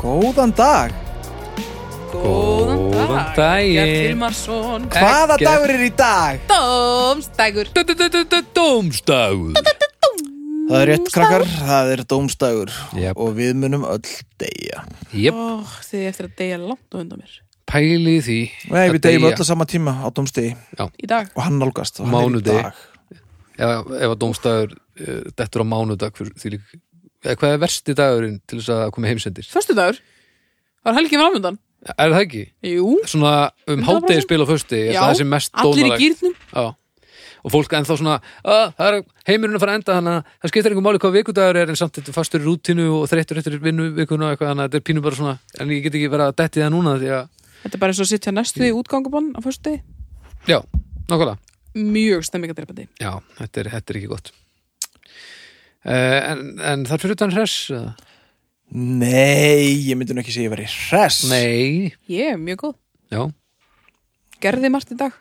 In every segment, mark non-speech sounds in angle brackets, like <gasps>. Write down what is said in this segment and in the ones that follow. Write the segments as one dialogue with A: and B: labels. A: Góðan dag
B: Góðan dag
C: Góðan daginn. Eh?
B: Gert Hilmarsson
A: Hvaða
C: Ekki.
A: dagur er í dag?
B: Dómstægur
C: Dómstag
A: Það er rétt krakkar, það er dómstagur
C: Jep.
A: Og við munum öll deyja
C: Jep,
B: Ó, þið eigið eftir að deyja langt á undan mér
C: pæli því
A: Nei,
C: að
A: við deyjum
C: deyja.
A: öll á sama tíma á dómstegi
B: Í dag
A: Og hann nálgast og hann er í
C: Mánudegi.
A: dag.
C: Ef, ef að dómstagur uh, dettur á mánudag fyrir því lík eða hvað er versti dagurinn til þess að koma heimsendir
B: Föstu dagur Var helgin framöndan?
C: er það ekki?
B: Jú
C: svona um
B: 100%?
C: hátegi spil á fösti
B: Já,
C: það er sem mest
B: Allir í
C: dónaleg
B: gýrnum
C: Já. og fólk ennþá svona "Ah, það er heimurinn að fara að enda þannig að það skiptir einhver máli hvað vikudagur er en samt þetta er fastur í rútinu og þreyttur eftir vinnu vikuna og eitthvað þannig að þetta er pínu bara svona en ég get ekki verið að detti það núna því að
B: Þetta er bara eins og að sitja næstu í útgangabann á föstu degi
C: já, nákvæmlega
B: Mjög stemmingadreipandi
C: Já, þetta er, þetta er ekki gott uh, en, en þar fyrir utan hress eða?
A: Nei, ég myndi nú ekki segja ég verið hress
C: Nei,
B: Ég er mjög góð
C: já, ok,
B: Gerði margt í dag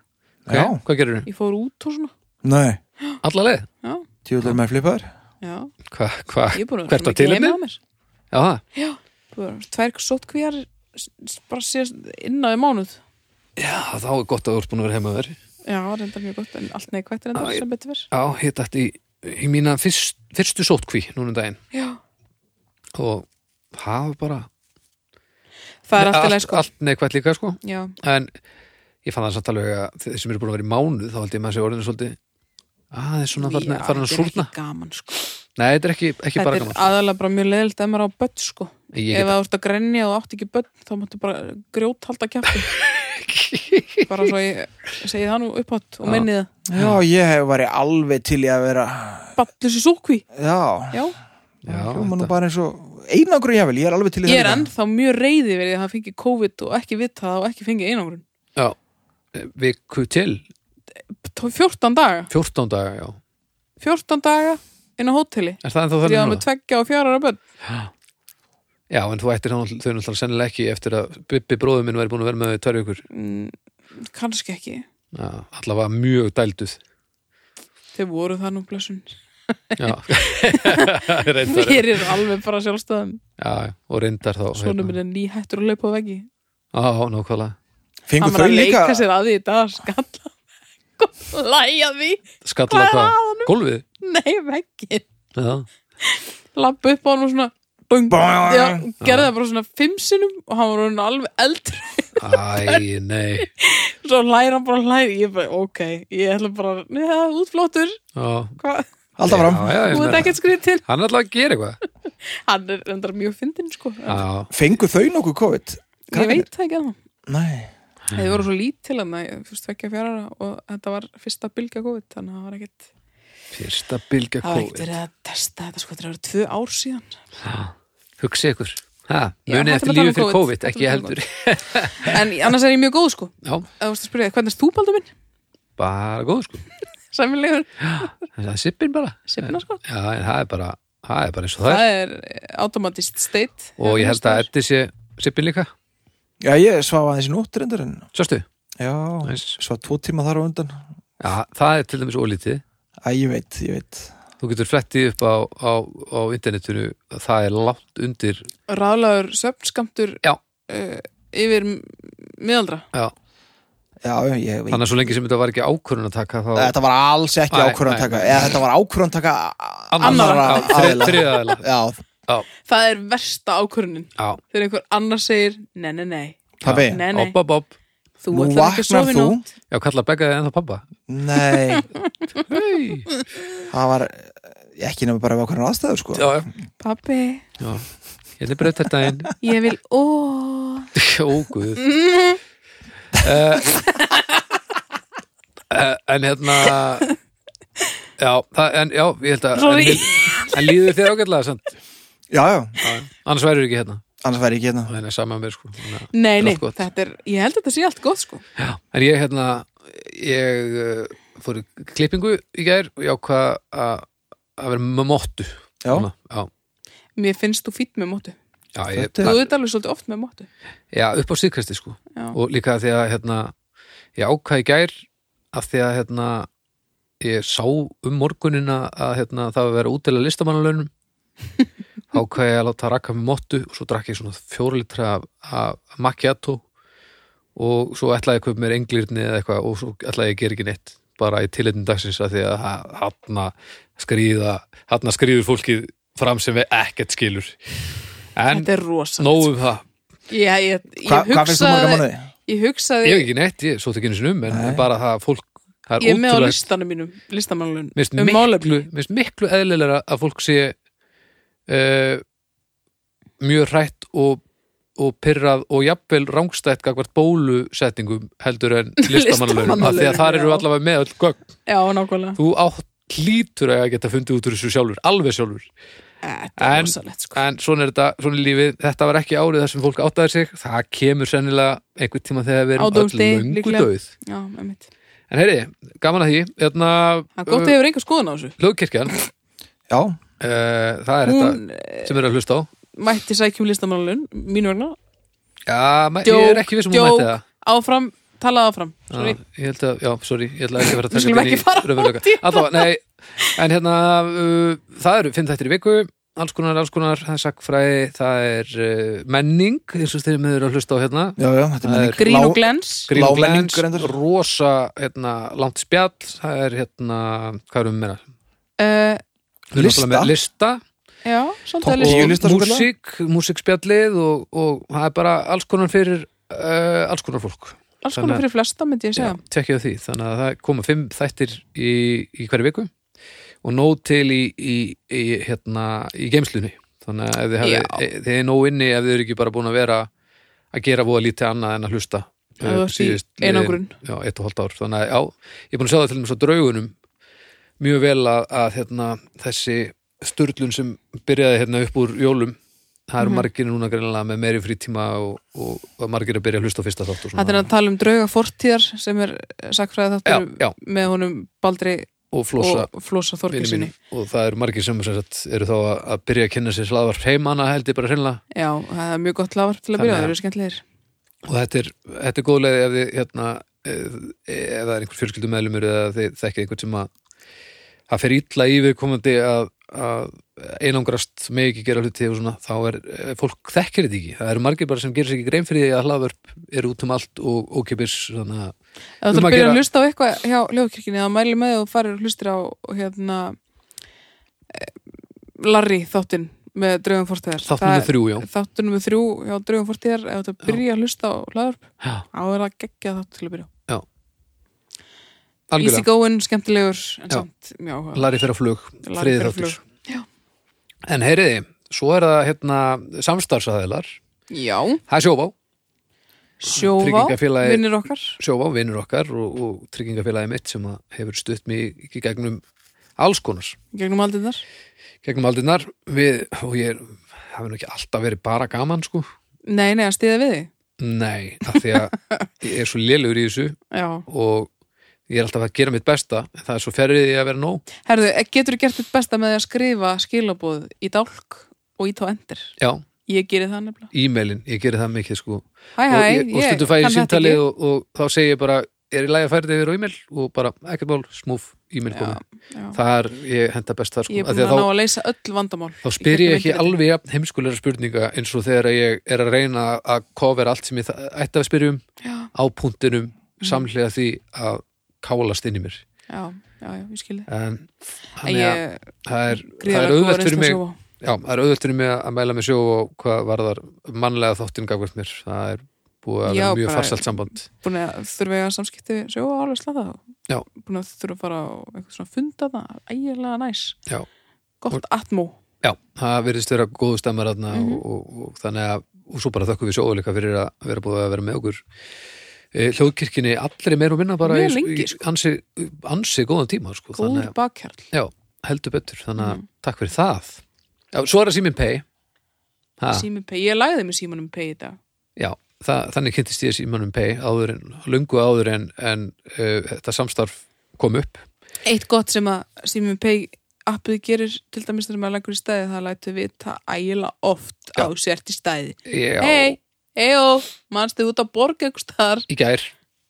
A: Já.
C: hvað gerir þau?
B: Ég fór út og svona
A: Nei,
C: Alla leið?
B: Já,
A: tjóðlega með flipaður
B: já
C: Hva, hva,
B: Ég er búin að
C: hvert var
B: mikið heima
C: tilefni?
B: hjá mér.
C: Já, það,
B: Já, bara tvær sótkvíjar s- s- bara síðast innan í mánuð
C: já, þá er gott að þú ert búin að vera heima þér
B: Já, reyndar mjög gott en allt neikvægt reyndar
C: Já, ég-
B: sem betur verð
C: Já, ég dætt í, í mína fyrst, fyrstu sótkví núna um daginn
B: Já
C: og það var bara
B: Það er alltaf leið
C: allt,
B: sko
C: allt neikvætt líka sko
B: Já,
C: en ég fann það samt alveg að þeir sem eru búin að vera í mánuð þá held ég maður sér orðinu svolítið aðeins svona farin
B: Já,
C: að- farin að
B: þetta er
C: súrna
B: ekki gaman sko
C: Nei, þetta er ekki, ekki
B: Þetta
C: bara
B: er
C: gaman
B: aðalega bara mjög leiðilt ef maður á börn sko
C: Ég
B: Ef
C: get-
B: það vart að grenja og þú átt ekki börn þá máttu bara grjót halda kjafti
C: <laughs>
B: Bara svo ég segi það nú upphátt og
C: Já.
B: menni það
A: Já, ég hef verið alveg til ég að vera
B: Ballur sér sótkví
A: Já,
B: Já,
C: Já,
A: hljóma nú
C: þetta-
A: bara eins og Einangur ég vel, ég er alveg til í
B: ég
A: það
B: er
A: líka.
B: ennþá mjög reyði verið að hann fengi COVID og ekki vita það og ekki fengi einangrun
C: Já, viku til
B: 14 daga
C: 14 daga, já
B: 14 daga inn á hóteli
C: Er það ennþá
B: þegar ég var
C: þannig
B: með
C: núna?
B: tveggja og fjárara börn
C: Já, en þú ættir hann, þau náttúrulega sennilega ekki eftir að Bibbi bróður minn væri búin að vera með þau tvær vikur
B: mm, kannski ekki
C: Já, allavega mjög dælduð
B: þau voru það nú blessun
C: Já,
B: <laughs>
C: reyndar Já,
B: mér er alveg bara sjálfstæðan
C: já, og reyndar þá hérna.
A: Hérna.
B: svona minn er nýhættur að laupa á veggi
C: Já, nákvæmlega
A: Fengu
B: hann
A: þau
B: var að
A: líka
B: leika sér að því í dag skalla og læja því
C: Skalla
B: Hvað er að
C: hvað?
B: honum?
C: Gólfið?
B: nei veggin
C: Já,
B: <laughs> lappa upp á hann og svona dung,
A: Boing.
B: já, gerði það bara svona fimm sinnum og hann var orðinn alveg eldur <laughs>
C: æ, nei
B: svo læra hann bara læra ég bara, ok, ég ætla bara ja, útflóttur,
C: Já,
B: hvað,
A: Alltaf
C: já,
A: fram
C: já, ég
B: þú ert
C: meina,
B: ekkert skritin
C: Hann er allavega að gera eitthvað
B: hann er endar mjög fyndin sko
A: Ah.
B: ég
C: Já,
A: Fengu þau nokkuð COVID?
B: veit það ekki að hann
A: Nei
B: Þið voru svo lítil hann að fyrst vekja fjara og þetta var fyrsta bylgja COVID þannig að það var ekkert
C: fyrsta bylgja
B: það var ekkert
C: COVID
B: verið að testa þetta sko þetta eru tvö ár síðan
C: Hugsi ykkur Ha,
B: Já, hættum
C: munið
B: að
C: eftir
B: tala um
C: lífi fyrir
B: COVID,
C: COVID,
B: hættum
C: ekki
B: að tala um
C: heldur
B: en annars er ég mjög góð sko
C: Já,
B: eða vorstu að spyrja þig, hvernig erst þú baldur minn?
C: bara góð sko
B: Sæmilegur,
C: Það er sippin bara
B: Sippina, sko.
C: Já, en það er bara, það er bara eins og það
B: það
C: er
B: er automatist state
C: Og ég held að Eddi sé sippin líka
A: Já, ég svaf aðeins í nótt reyndar en
C: Sjástu?
A: Já,
C: Nice.
A: svaf tvo tíma þar á undan
C: Já, það er til dæmis ólítið
A: Æ, ég veit, ég veit
C: Þú getur flettið upp á, á, á internetinu Það er látt undir
B: ráðlagur söpnskamtur
C: Já.
B: uh, yfir m- miðaldra
C: Já,
A: Já, ég veit
C: þannig að svo lengi sem þetta var ekki ákvörun að taka þá
A: Þetta var alls ekki
C: Nei,
A: ákvörðan
C: nei.
A: taka Eða þetta var ákvörðan taka
B: annarra
A: annarra aðila.
C: Þriðaðala
A: Já,
B: það er versta ákvörunin
C: Já,
B: þegar einhver annar segir, nei, nei, nei
A: pabbi,
B: Nei, nei,
C: opp, opp, opp
B: þú
A: nú
B: ætlar
A: vaknar
B: ekki að sofa í
A: þú
B: nótt
C: Já, kalla beggaði ennþá pappa
A: Nei,
C: Hei
A: það var eh, ekki nefnir bara ákvörðan aðstæður sko
C: Já, já,
B: Pappi,
C: já Ég Hérna er breytt þetta einn
B: ég vil <laughs> ó
C: Ó, guð uh, En hérna Já, það, en, já, ég held að
B: Sorry.
C: En, en líður þér ágætlega samt
A: Já, já,
C: Já, Annars væri ekki hérna
A: annars væri ég ekki hérna
C: Það er sama með sko Þannig að-
B: Nei,
C: Þetta er
B: nei,
C: allt gott.
B: þetta er, ég held að þetta sé allt gott sko
C: Já, en ég hérna Ég uh, fór í klippingu í gær og ég ákvað að að vera með móttu
A: Já,
C: Svona, já,
B: Mér finnst þú fýtt með mótu
C: já ég,
A: Þetta
B: Þú
A: er-
B: ert alveg svolítið oft með mótu
C: já, upp á síðkvæsti sko
B: Já,
C: og líka því að hérna, ég ákvæði gær af því að hérna,
B: <laughs>
C: ég sá um morgunina að hérna, það var að vera útilega listamannalaunum ákvað ég að láta rakka með mottu og svo drakk ég svona fjórlitra af, af macchiato og svo ætlaði ég að kaupa mér englirni eða eitthvað og svo ætlaði ég að gera ekki neitt bara í tilitnum dagsins að því að hann skrýða hann skrýður fólkið fram sem við ekkert skilur en
B: Þetta er rosa
C: nóg um það,
B: Ég, ég, ég,
A: Hva, hvað finnst þú marga
B: hugsaði,
A: mánuði?
B: ég hugsaði
C: ég hef ekki neitt ég svo þetta ekki einu sinum, en, en bara það að fólk það er
B: Ég er með á
C: ótrúlega
B: listanum mínum, listamannlun
C: Mér finnst
B: um
C: miklu,
B: málefni.
C: mér finnst miklu eðlilega að fólk sé uh, mjög hrætt og, og pyrrað og jafnvel rángstætt gagvart bólusetningum heldur
B: <laughs>
C: en listamannalaunum af því
B: Listamannalaunum,
C: að þar eru
B: já.
C: allavega með öll gögn
B: Já, nákvæmlega
C: þú átt lítur að geta fundið út úr þessu sjálfur, alveg sjálfur
B: Þetta er
C: En-
B: rosalegt sko
C: en svona er þetta, svona er lífið þetta var ekki árið þar sem fólk áttaði sig það kemur sennilega einhvern tíma þegar við
B: Á
C: erum öll
B: dólti,
C: löngu
B: líklega.
C: döið
B: Já, einmitt
C: en heyri, gaman að því hérna,
B: Það er gott að
C: uh,
B: hefur einhver skoðun á þessu
C: hljóðkirkjan
A: Já,
C: Uh, það er
B: Hún eh,
C: þetta sem er að hlusta á
B: mætti sækjum listamannlun, mín vegna
C: Já, ma- ég
B: Djók,
C: er ekki viss um að hún
B: djók,
C: mætti það
B: áfram, talaði áfram Sorry.
C: Já, ég held að, já, sorry, ég held að ekki vera að
B: Við skulum ekki fara út í
C: Allá, nei, en hérna uh, það eru fimm þættir í viku alls konar, alls konar, það er sakfræði það er uh, menning eins og þeir með eru að hlusta á hérna
A: já, já, þetta
C: Það
A: er
C: er
A: menning
B: Grín
A: Lá-
B: og glens
C: Grín og
A: Lágmenning,
C: glens,
A: reyndar.
C: rosa hérna, langt spjall, það er hérna hvað erum við meira?
B: uh,
C: Við erum náttúrulega með Lista
B: Já,
A: Topp
B: svolítið að
A: tíu
B: lista
A: lista
C: og
A: svokallaða.
C: músík, músíkspjallið og, og það er bara alls konar fyrir uh, alls konar fólk
B: Alls konar sko fyrir flesta, myndi ég segja
C: tekja því, þannig að það koma fimm þættir í, í hverju viku og nóg til í, í, í hérna, í geimslunni þannig að ef þið, hafi,
B: Já.
C: e, þið er nóg inni ef þið eru ekki bara búin að vera að gera voða lítið annað en að hlusta
B: Ef
C: eh,
B: þú ert í
C: síðust liðin-
B: einangrun.
C: já, eitt og hálft ár, þannig að já, ég er búin að sjá það til þess að draugunum mjög vel að, að hérna, þessi sturlun sem byrjaði hérna upp úr jólum það
B: Mhm.
C: eru margir núna greinlega með meiri frítíma og, og, og margir að byrja að hlusta á fyrsta þátt og svona.
B: Þetta er að tala um drauga fortíðar sem er sakfræði
C: já,
B: þáttur
C: já,
B: með honum Baldri
C: og flosa
B: og Flosa
C: vinni
B: Þorkinsinni
C: mínum og það eru margir sem sem sagt, eru þá að að byrja að kynna sér slaðvarp heimana held ég bara hreinlega
B: Já, það er mjög gott lavar til að
C: Þannig
B: byrja,
C: að-
B: það eru skemmtlegir
C: og þetta er, þetta er góð leið ef þið hérna, eh, ef það er einhver fjölskyldumæðlumur eða þið þekkið einhvern sem að það fer illa í viðkomandi að, að einangrast með ekki gera hluti og svona, þá er eh, fólk þekkir þetta ekki, það eru margir bara sem gerir sér ekki grein fyrir því að hlaðvarp eru út um allt og ókipis, þannig að
B: Ef þú
C: Um
B: ætlar
C: að
B: að byrja
C: gera-
B: að hlusta á eitthvað hjá Ljóðkirkjunni eða mæli með og farir og hlustir á hérna eh, Larry þáttinn með draugum fortíðar
C: þátt nummer þrjú, já
B: Þáttur nummer þrjú hjá draugum fortíðar ef þú ætlar að byrja að hlusta á lavarp
C: Já,
B: á er það geggja þátt til að byrja
C: algjörlega.
B: Easy going, skemmtilegur en
C: Já.
B: samt mjög áhuga
C: Lari fyrir að flug,
B: Larry
C: þriði
B: fer á
C: þáttur En heyriði, svo er það hérna samstarfsaðilar
B: Já,
C: Það er sjóvá,
B: sjóvá,
C: Tryggingafélagi-
B: vinnir okkar
C: sjóvá, vinnur okkar og, og tryggingafélagi mitt sem að hefur stutt mig í gegnum alls konar
B: gegnum aldirnar
C: gegnum aldinnar við, og ég er- það hefur nú ekki alltaf verið bara gaman sko
B: Nei, nei, að stiða við þig
C: Nei, af því
B: <laughs>
C: að ég er svo lélugur í þessu
B: Já,
C: og ég er alltaf að gera mitt besta en það er svo ferrið ég að vera nóg
B: herðu, getur þú gert þitt besta með því að skrifa skilabóð í dálk og í tó endur
C: Já,
B: Ég geri það nefnilega
C: e-mailin, ég geri það mikið sko
B: Hæ, hæ,
C: og, ég, og stundum fæ ég
B: kann þetta
C: símtalið
B: ekki.
C: og, og þá segi ég bara er í lagi að færa þig yfir á e-mail og bara ekkert mál, smúf, e-mail
B: Já,
C: komið
B: já.
C: það er, ég henda best það sko
B: Ég er
C: af
B: búin
C: því
B: að,
C: að
B: ná
C: þá,
B: að leysa öll vandamál
C: þá spyr ég
B: í
C: ekki
B: gegnum internetið.
C: alveg jafn heimskulega spurninga eins og þegar ég er að reyna að kofera allt sem ég þa- ætti að spyrja um
B: Já, Mhm.
C: á punktinum samhlega því að kálast inn í mér
B: já, já, já, ég skil þig
C: en
B: En
C: þannig að
B: ég
C: það er, það
B: gríðar
C: er
B: að
C: auðvelt fyrir mig
B: sjóa
C: Já, það er auðvöld fyrir mig að mæla með sjó og hvað varðar mannlega þóttin gafvært mér. Það er búið að
B: Já,
C: vera mjög
B: bara-
C: farsælt samband.
B: Búin að þurfa ég að samskipti við sjóa alveg slata þá
C: Já.
B: Búin að þurfa að fara á eitthvað svona funda það Ægilega næs
C: Já.
B: Gott atmó
C: Já, það virðist vera góðu stemmar mm
B: Mhm.
C: og, og, og þannig að og svo bara þökkum við sjóðuleika fyrir að vera búið að vera með okkur e, hljóðkirkjunni allri meir og minna bara
B: Mjög
C: í,
B: lengi, sko.
C: í ansi, ansi góðan tíma sko, þannig
B: Góður
C: að,
B: bakkjarl
C: já, heldur betur þannig
B: Mm.
C: að takk fyrir það já, Svo er að síminn pay ha,
B: Sími pay Ég lagði með símanum pay í dag
C: já, það, þannig kynntist ég símannum pay áður en, lungu áður en, en uh, þetta samstarf kom upp
B: Eitt gott sem að Sími pay appið gerir til dæmis þegar maður leggur í stæði það lætur við það ægilega oft á sért í stæði
C: já,
B: Hei, heió, oh, manstu út að borga ykkur staðar
C: í gær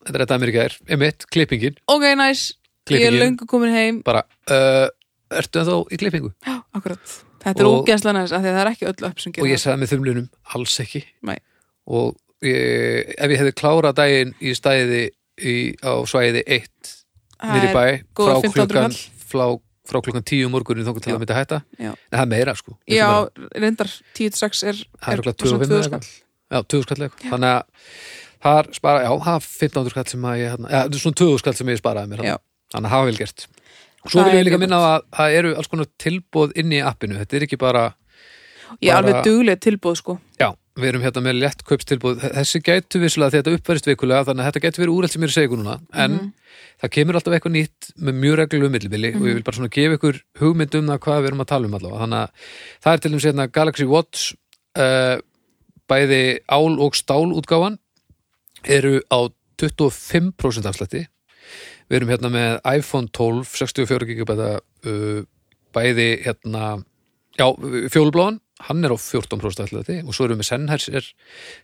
C: þetta er þetta mér í gær, emitt, klippingin
B: Ok, næs, ég er
C: Klippingin.
B: löngu komin heim
C: bara, uh, ertu en eh, í klippingu?
B: Já, akkurat Þetta er
C: Og-
B: ógeðslega næst að því að það er ekki öll upp sem
C: og
B: gerir
C: ég sagði með þumlunum alls ekki
B: Nei.
C: og ég, ef ég hefði klárað daginn í stæði í, á svæði 1
B: það
C: nýri bæ
B: góða
C: frá
B: 15
C: klukkan,
B: kall.
C: frá, frá klukkan 10 morgunin þóngu til
A: Já.
C: að mynda hætta
B: Já.
C: en það er meira sko Eins og
B: Já,
C: bara-
B: reyndar 10-6 er,
C: það er okkur 25
B: 25
C: eða
B: skall.
C: eitthvað. já, 20 skall eða eitthvað þannig að þar spara, já, það er 1500 skall sem að ég hérna, já, þetta er svona 20 skall sem ég sparaði mér
B: sko. Já.
C: þarna. þannig að hafa vel gert og svo
B: Það
C: vil
B: er
C: ég líka
B: mjög
C: minna á að það eru alls konar tilbóð inn í appinu, þetta er ekki bara
B: Ég
C: Bara-
B: er alveg dugleg tilbúð sko
C: Já, við erum hérna með lett kaupstilbúð þessi gætu visslega því að þetta uppverðist vikulega þannig að þetta gætu verið úrælt sem ég er að segja ykkur núna en það kemur alltaf eitthvað nýtt með mjög reglulegu millibili og ég vil bara svona gefa ykkur hugmynd um það hvað við erum að tala um allavega þannig að það er til dæmis hérna Galaxy Watch uh, bæði ál og stál útgáfan eru á 25% afslætti við erum hérna með iPhone 12 64 GB uh, bæði hérna Já, fjólubláðan, hann er á 14% ætla þetta og svo erum við Sennheiser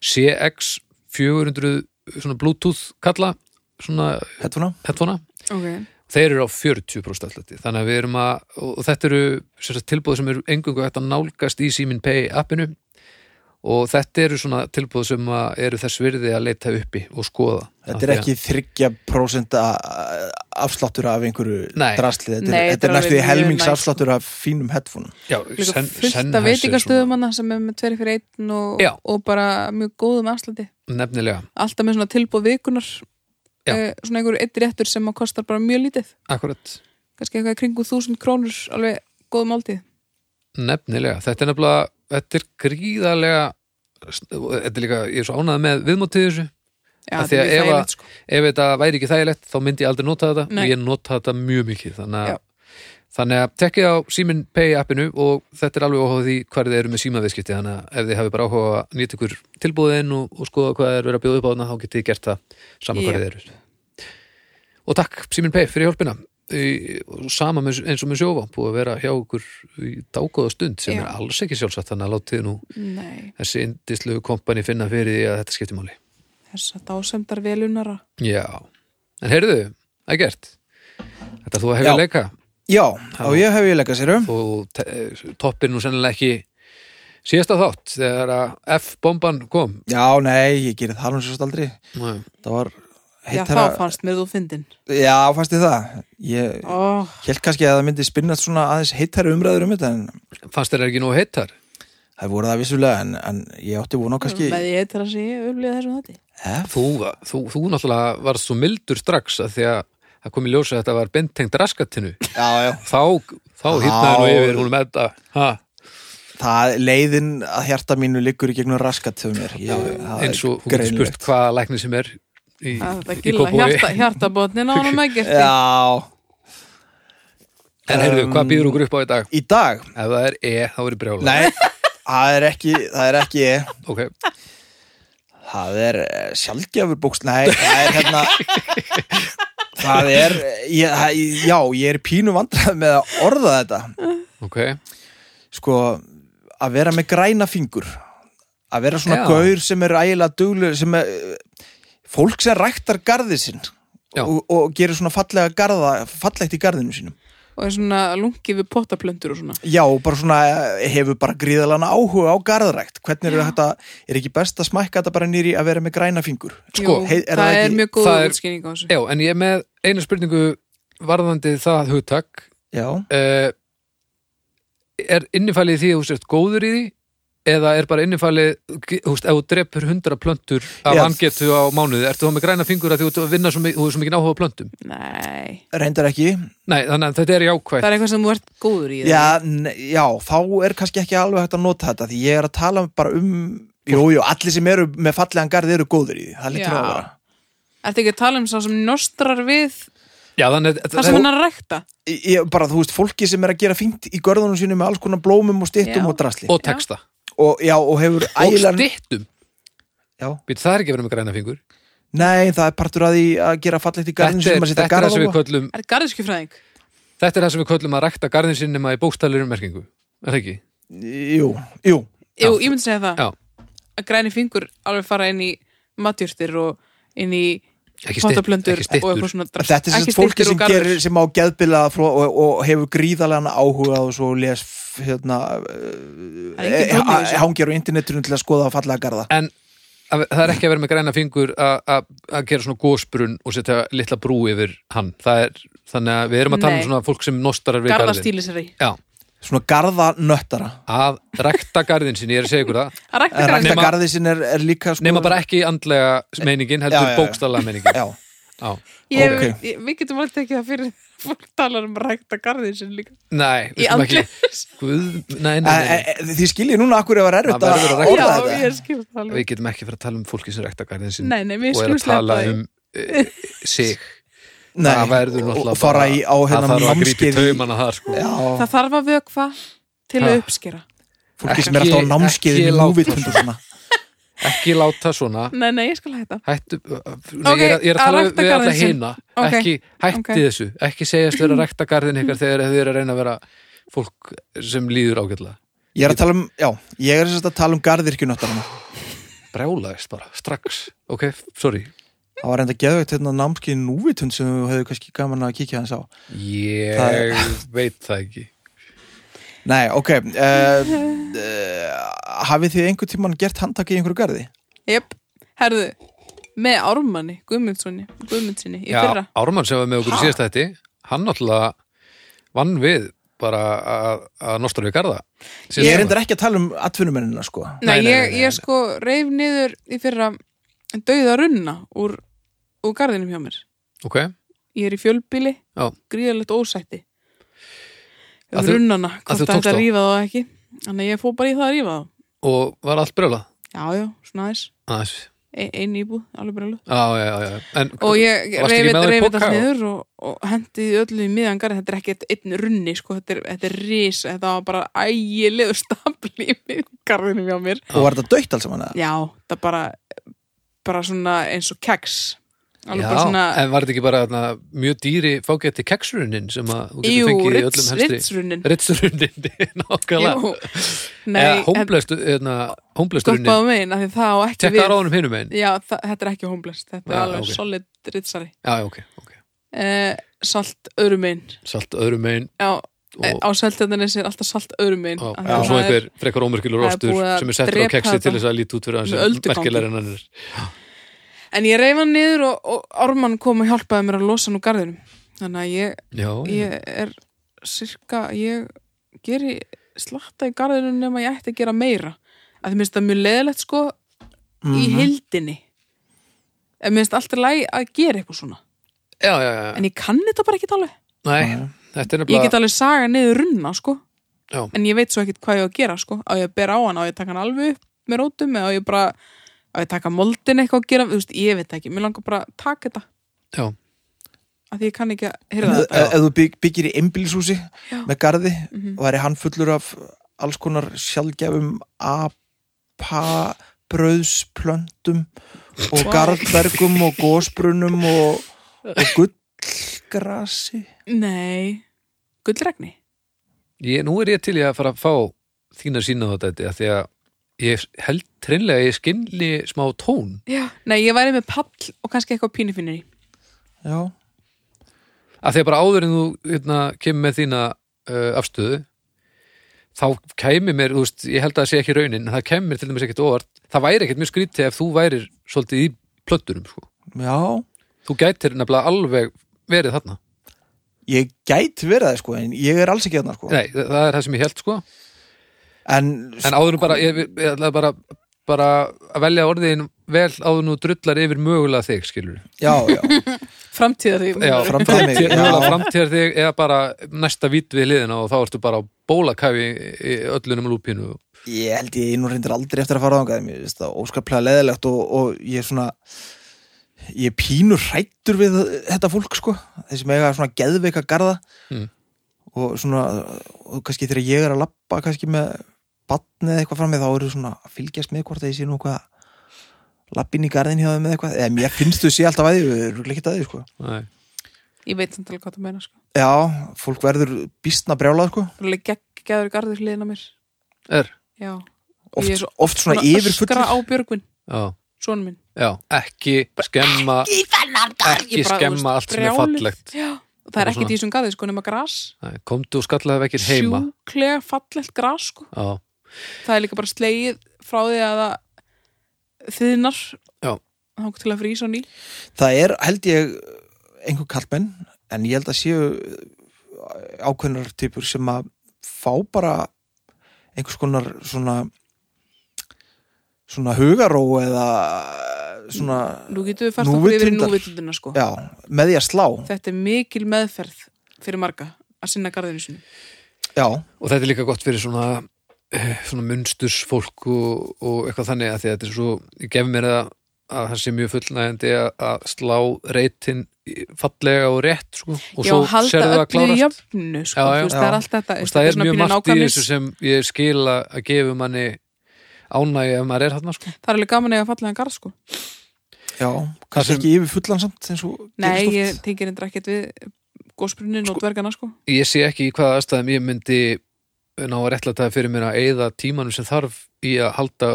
C: CX 400 svona Bluetooth kalla svona
A: Headphone á?
C: headphona
B: okay.
C: þeir eru á 40% allætti þannig að við erum að og þetta eru sem sagt, tilbúð sem eru engungu hægt að nálgast í Simin Pay appinu og þetta eru svona tilbúð sem að eru þess virði að leita uppi og skoða Af
A: Þetta er
C: því að-
A: ekki 30% a- afsláttur af einhverju
C: Nei.
A: drasli, þetta
B: Nei,
A: er,
B: þetta
A: þetta
B: er
A: er næstu
B: alveg
A: því
B: mjög
A: helmings
B: næs.
A: afsláttur af fínum headphone
C: Já,
B: Líka
C: Sen-
B: fullt af
C: Sennheiser svona-
B: veitingastöðumanna sem er með tveri fyrir einn og,
C: Já.
B: og bara mjög góðum afslætti
C: Nefnilega,
B: Alltaf með svona tilbúð vikunar
C: Já.
B: eh, svona einhverju eitt réttur sem að kostar bara mjög lítið
C: akkurat
B: kannski eitthvað í kringu 1000 krónur alveg góðum áltíð
C: Nefnilega, þetta er nefnilega þetta er gríðarlega þetta er líka, ég er svo ánægð með viðmótið þessu
B: Já,
C: Af
B: þetta
C: því
B: er
C: að
B: mjög
C: ef að-
B: þægilegt sko
C: ef þetta væri ekki þægilegt þá myndi ég aldrei nota þetta
B: Nei.
C: og ég nota þetta mjög mikið þannig
B: Já.
C: að, þannig að tekkið á Simin Pay appinu og þetta er alveg óháð því hvar þið eru með símaviðskipti þannig að ef þið hafi bara áhuga að nýta ykkur tilbúðin og, og skoða hvað er verið að bjóða upp á þarna þá getið þið gert það saman
B: Já.
C: hvar þið eru og takk Simin Pay fyrir hjálpina Í- og sama með, eins og með sjófa búið að vera hjá ykkur í dágóða stund sem
B: Já.
C: er alls ekki sjálfsagt þannig að látið nú
B: Nei,
C: þessi indislu kompani finna fyrir því að þetta skipti máli
B: þess að dásemdar velunara
C: Já, en heyrðu, ekkert Þetta er þú að hefja
A: Já.
C: leika
A: Já, og ég hef ég leggað sér um
C: og toppir nú sennilega ekki síðasta þátt þegar að F-bomban kom
A: Já, nei, ég gerði það nú sérst aldrei
C: Nei.
A: Það var
B: Já,
A: heitt
B: þá fannst mér þú fyndin
A: Já, fannst þið það Ég
B: Ó,
A: held kannski að það myndi spinnast svona aðeins heittæra umræður um þetta en
C: Fannst þér ekki nú heittar?
A: það voru það vissulega en, en ég átti vona á kannski
B: með ég heitir að sé ég upplýða þessum þetta
A: F
C: Þú, þú, þú náttúrulega varst svo mildur strax að því að það kom í ljósa að þetta var beintengt raskatinu
A: Já, já
C: þá, þá
A: Já.
C: hittnaði nú yfir hún með þetta ha,
A: Það leiðin að hjarta mínu liggur í gegnum raskat hjá mér ég, það er
C: eins og hún getur
A: greinilegt.
C: spurt hvaða lækni sem er í,
B: Þetta
C: í
B: gilla
C: Kópavogi.
B: hjarta, hjartabotnin á hann ekkert í.
A: Já,
C: En heyrðu,
A: Um,
C: hvað býður okkur upp á í dag?
A: í dag
C: Ef það er E, þá verður brjála
A: Nei, það er ekki það er ekki ég
C: Ok,
A: Það er eh, sjaldgæfur bóks Nei, það er hérna
C: <laughs>
A: Það er ég, það- Já, ég er pínu vandræð með að orða þetta
C: ok
A: Sko, að vera með græna fingur Að vera svona
C: Já.
A: gaur sem er ægilega duglu sem er eh, fólk sem ræktar garðið sinn
C: Já.
A: og, og gerir svona fallega garða fallegt í garðinu sínum
B: og er svona lungi við pottaplöntur og svona
A: Já, og bara svona eh, hefur bara gríðalega áhuga á garðrækt Hvernig er þetta, er ekki best að smækka þetta bara nýri að vera með græna fingur?
C: Sko,
B: Jú,
A: hei- er
B: það,
A: það
B: er
A: ekki-
B: mjög góð
C: það er-
B: útskýring á þessu
C: Já, en ég er með eina spurningu varðandi það hugtak
A: Já
C: uh, er innifælið í því að þú sért góður í því eða er bara innifælið þú veist, ef þú drepur hundra plöntur af
A: Já.
C: angetu á mánuði, ertu þá með græna fingur að því þú ert að vinna svo, mi- þú hefur svo mikið áhuga á plöntum
B: Nei,
A: Reyndar ekki,
C: Nei, þannig að þetta er jákvætt
B: það er eitthvað sem þú ert góður í það.
A: Já, ne- já, þá er kannski ekki alveg hægt að nota þetta því ég er að tala bara um Jú, jú, allir sem eru með fallegan garð eru góður í því Það lítur
B: Já.
A: að vera
B: Ertu ekki að tala um sá sem nostrar við
C: Já, þannig að
B: það sem hann er að rækta
A: Ég- ég, Bara, þú veist, fólki sem er að gera fínt í görðunum sínu með alls konar blómum og styttum
B: Já.
A: og drasli
C: og texta
A: Og já, og hefur
C: og
A: ægilegan-
C: styttum,
A: Já,
C: Býtu, það er ekki að vera með græna fingur
A: Nei, það er partur að því að gera fallegt í garðinu
C: þetta
A: sem
C: er,
A: að
C: þetta,
A: setja
C: er það
A: garð
C: sem við
A: á
C: köllum,
B: Er garðiskefræðing?
C: þetta er það sem við köllum að rækta garðin sinn nema í bókstælurum merkingu Er það ekki?
A: Jú, jú
B: Jú, ég myndi segja það
C: Já,
B: að græni fingur alveg fara inn í matjurtir og inn í
C: ekki, stytt,
B: pottaplöntur
C: ekki
B: og
C: styttur
B: eitthvað svona drasl.
A: Þetta er sem
B: Ekki
A: sagt fólki
B: styttur og
A: sem,
B: garður.
A: gerir, sem á geðbilað og, og, og hefur gríðalegan áhuga og svo les f- hérna
B: Það er engin tónn í þessu.
A: hangjar á internetinu til að skoða fallega garða
C: en að- það er ekki að vera með græna fingur að- að að gera svona gósbrunn og setja litla brú yfir hann það er, þannig að við erum að tala um
B: Nei.
C: svona fólk sem nostarar við garðin
B: Garðastýlisari
C: Já,
A: svona garðanöttara
C: að rækta garðin sinni, ég er að segja ykkur það
B: Að rækta
A: en rækta
C: Nema-
B: garðin
A: garði sin er, er líka sko,
C: nema bara ekki andlega meiningin heldur
A: Já, já, já.
C: bókstallega meiningin
A: já,
C: Já.
B: Ég-
A: ok.
B: ég- Við getum alltaf ekki það fyrir fólk talar um að rækta garðin sinni líka
C: Nei, við
B: Í
C: skulum ekki
B: andlis
C: Guð, nei, nei,
A: en,
C: nei,
A: en, en, því Eh, skiljið núna akkur ef að erfitt
C: Það
A: að
C: verður að rækta.
B: Já,
A: orða
B: ég
A: þetta
B: skil það
C: við
B: alveg
C: getum ekki fara að tala um fólki sem rækta garðin sinni
B: Nei, nei,
C: og
B: mér
C: er
B: skulum
C: að tala
B: sleppa því.
C: um e, sig
A: Nei,
C: það verður náttúrulega
A: og fara í á
C: það
A: hérna
C: þarf að grípa í
A: námskeið í-
C: taumana þar sko.
A: já,
B: Það þarf að vökva til að
C: Ha.
B: uppskera
A: fólki sem er alltaf á
C: Ekki-
A: námskeið í
C: ekki láta
A: núvitund og svona
C: ekki láta svona
B: Nei, nei, ég skal hætta
C: hættu, uh, nei,
B: Ok,
C: ég, er, að- ég er að
B: að
C: tala
B: rækta
C: við alla
B: garðinn sinn.
C: hina
B: Ok,
C: ekki, hætti
B: ok.
C: þessu, ekki segjast
B: <clears throat>
C: vera að rækta garðin ykkar þegar þið eru að reyna að vera fólk sem líður ágætlega
A: ég er að tala um, já, ég er sem sagt að tala um garðirkjunöttarana
C: brjálaðist bara, strax, ok, sorry
A: það var enda geðvægt hérna námskeið í núvitund sem við hefðu kannski gaman að kíkja hans á
C: ég
A: Það
C: veit það ekki
A: nei, ok uh, uh, hafið þið einhver tíman gert handtaki í einhverju garði?
B: Jöp, herðu Með Ármanni, Guðmundssoni Guðmundssoni í
C: Já,
B: fyrra
C: Ármann sem var með okkur í
B: Ha?
C: síðast þetta hann náttúrulega vann við bara að, að nostra við garða Síðasta
A: ég er
C: sumar.
A: endur ekki að tala um atvinnumennina sko
B: Nei,
C: Nei, nei, nei,
B: ég,
C: nei, nei.
B: ég sko reif niður í fyrra dauða runna úr, úr garðinum hjá mér
C: ok,
B: Ég er í fjölbili,
C: Já.
B: gríðalegt ósætti
C: Að
B: um
C: þú-
B: runnana,
C: þú
B: hvort
C: tókst
B: þetta
C: þá?
B: rífa þá ekki Þannig að ég fór bara í það að rífa þá
C: og var allt brjóla
B: Já, já, svona aðeins
C: aðeins,
B: Ein, ein íbúð, alveg brjóluð
C: já, já, já, já. En,
B: Og ég
C: Varstu ekki
B: reyfið
C: með það í
B: þetta
C: poka?
B: sniður og, og hendiði öllu í miðan garð Þetta er ekki einn runni, sko, þetta er, þetta er ris Þetta var bara ægilegu stapli í miðjum garðinum hjá mér
A: og var þetta dögt alls saman eða?
B: Já, það er bara bara svona eins og keks Alveg
C: já,
B: bara svona
C: en var þetta ekki bara na, mjög dýri fágætti keksrunin sem að þú getur
B: Jú,
C: fengið í
B: rits,
C: öllum helsti
B: ritsrunnin
C: ritsrunin, <laughs> nákvæmlega
B: Jú, nei,
C: eða
B: þetta
C: hómblestrunin
B: stoppaðu megin af því það á ekki
C: tekka
B: við
C: ráðunum hinum einn
B: Já, það, þetta er ekki homeless Þetta er
C: Já,
B: alveg
C: ok.
B: solid ritsari
C: já, ok, ok,
B: eh, Salt öðrum megin
C: salt öðrum einn
B: Já,
C: og,
B: á seltjarnanis er alltaf salt öðrum einn
C: og, og svo einhver frekar ómerkilur
B: það er
C: ostur
B: búið að
C: sem er settur á
B: drepa
C: keksi
B: þetta.
C: til þess að líti út fyrir
B: Með
C: hans
B: öldugangi.
C: merkilegar en hann er
B: En ég reyf hann niður og, og Ármann kom og hjálpaði mér að losa hann úr garðinum Þannig að ég,
C: já, já.
B: ég er sirka, ég geri slatta í garðinum nema ég ætti að gera meira að því minnst það mjög leðilegt sko í
C: Mhm.
A: Mhm.
B: hildinni en minnst alltaf læg að gera eitthvað svona
C: já, já, já.
B: en ég kann þetta bara ekki alveg
C: Nei, þetta er
B: ég
C: nefnilega
B: get alveg saga niður runna sko
C: Já.
B: en ég veit svo ekkit hvað ég á að gera sko á ég að bera á hann, á ég að taka hann alveg upp með rótum eða á ég bara á ég að taka moldin eitthvað að gera, þú veist, ég veit ekki mér langar bara að taka þetta
C: já,
B: af því ég kann ekki að
A: En
B: hyrða
A: ef
B: þetta
C: eh,
A: ef þú bygg, byggir í einbílshúsi
B: Já.
A: með garði væri hann fullur af alls konar sjálfgefum apabröðsplöntum og
B: Vá.
A: garðbergum og gósbrunum og, og gullgrasi
C: eh.
B: nei, gullregni
C: ég, nú er ég til ég að fara að fá þína sína á þetta af því að ég held treinlega að ég skinli smá tón
B: já. nei, ég væri með pall og kannski eitthvað pínufinnur í
A: já,
C: af því að bara áður en þú hérna, kemur með þína uh, afstöðu þá kæmi mér, þú veist, ég held að það sé ekki raunin það kæmi mér til dæmis ekkert óvart það væri ekkert mjög skrítið ef þú værir svolítið í plöttunum, sko.
A: já
C: þú gætir nefnilega alveg verið þarna
A: ég gæti verið það sko en ég er alls ekki þarna sko
C: Nei, það það er það sem ég held, sko
A: en,
C: En áður en bara, ég, ég ætlaði bara, bara að velja orðin vel áður nú drullar yfir mögulega þig, skilur.
A: já, já,
B: framtíðar því
C: Já, <laughs>
A: framtíðar mig, já.
C: mögulega framtíðar þig eða bara næsta vít við liðina og þá ertu bara á bólakæfi í öllunum lúpínu.
A: ég held ég nú reyndir aldrei eftir að fara þangað mér finnst það óskaplega leðilegt og, og ég er svona ég er pínur hrættur við þetta fólk sko, þeir sem eiga svona geðveika garða
C: Mm.
B: Hmm.
A: og svona og kannski þegar ég er að labba kannski með batni eða eitthvað fram með þá eru svona að fylgjast með hvort að ég sé nú eitthvað lappin í garðin hjá þeim með eitthvað eða mér finnst þau sé alltaf að því, við erum ekki að því sko
C: Nei.
B: ég veit samt alveg hvað það meina sko
A: já, fólk verður býstna brjálað sko
B: Það er alveg gegg, geggur garður hliðina á mér
C: Er,
B: já, Ég er
A: oft,
B: svo-
A: oft svona yfirfullir
B: öskra á Björgvin,
C: já,
B: sonum minn
C: já, ekki skemma,
B: í þennan
C: ekki skemma allt sem er fallegt.
B: Já, og það er
C: Bara
B: ekkert
C: svona.
B: í þessum garði sko nema gras
C: Nei, komdu og skallaði vekkir heima
B: sjúklega fallegt gras sko
C: Já,
B: það er líka bara slegið frá því að það þiðnar
C: Já.
B: þá til að frýsa á ný
A: það er held ég einhver kallmenn en ég held að séu ákveðnar typur sem að fá bara einhvers konar svona svona hugaró eða svona
B: nú getum við fært okkur yfir í
A: Núvitundar.
B: núvitundina sko
A: já, með því að slá
B: þetta er mikil meðferð fyrir marga að sinna garðinu sinu
A: já,
C: og þetta er líka gott fyrir svona eh, svona munstursfólk og, og eitthvað þannig að því að þetta er svo ég gef mér að, að það sé mjög fullnægjandi að, að slá reytin fallega og rétt sko, og
B: já,
C: svo
B: halda
C: sérðu það
B: öllu í
C: klárast
B: jöfnu sko,
C: Já, já.
B: þú veist, það
A: Já.
B: er allt þetta
C: og það
B: þetta
C: er
B: svona
C: mjög
B: pínu
C: margt í
B: nákvæmnis.
C: þessu sem ég skil að að gefa manni ánægja ef maður er þarna sko.
B: það er alveg gaman að eiga fallega garð sko
A: já kannski
C: sem-
A: ekki yfir fullan samt eins og
B: nei,
A: gerist oft.
B: ég tengir endur ekkert við gósbrunnin og dvergana sko
C: ég sé ekki í hvaða aðstæðum ég myndi ná að réttlæta það fyrir mér að eyða tímanum sem þarf í að halda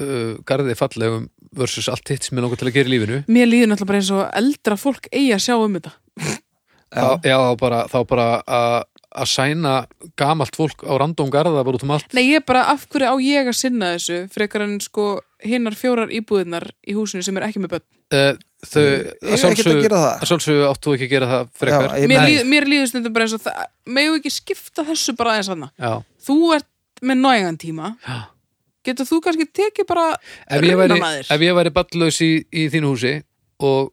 C: uh, garði fallegum versus allt hitt sem ég langar til að gera í lífinu
B: mér líður náttúrulega bara eins og eldra fólk eigi að sjá um þetta
C: já, já þá bara, þá bara að að sæna gamalt fólk á random garða bara út um allt
B: Nei, ég er bara, af hverju á ég að sinna þessu frekar en sko hinnar fjórar íbúðinar í húsinu sem er ekki með börn
C: uh, þau, að
A: Eiga ekkert að
C: sjálfsögðu
A: gera það.
C: að sjálfsögðu áttu ekki að gera það frekar
A: Já, ég-
B: Mér,
A: nei.
B: líð, mér líður stundum bara eins og það megu ekki skipta þessu bara aðeins hana
C: já,
B: Þú ert með nægan tíma
C: já.
B: getur þú kannski tekið bara
C: ef ég væri,
B: Runnamaður.
C: ef ég væri ballaus í, í þínu húsi og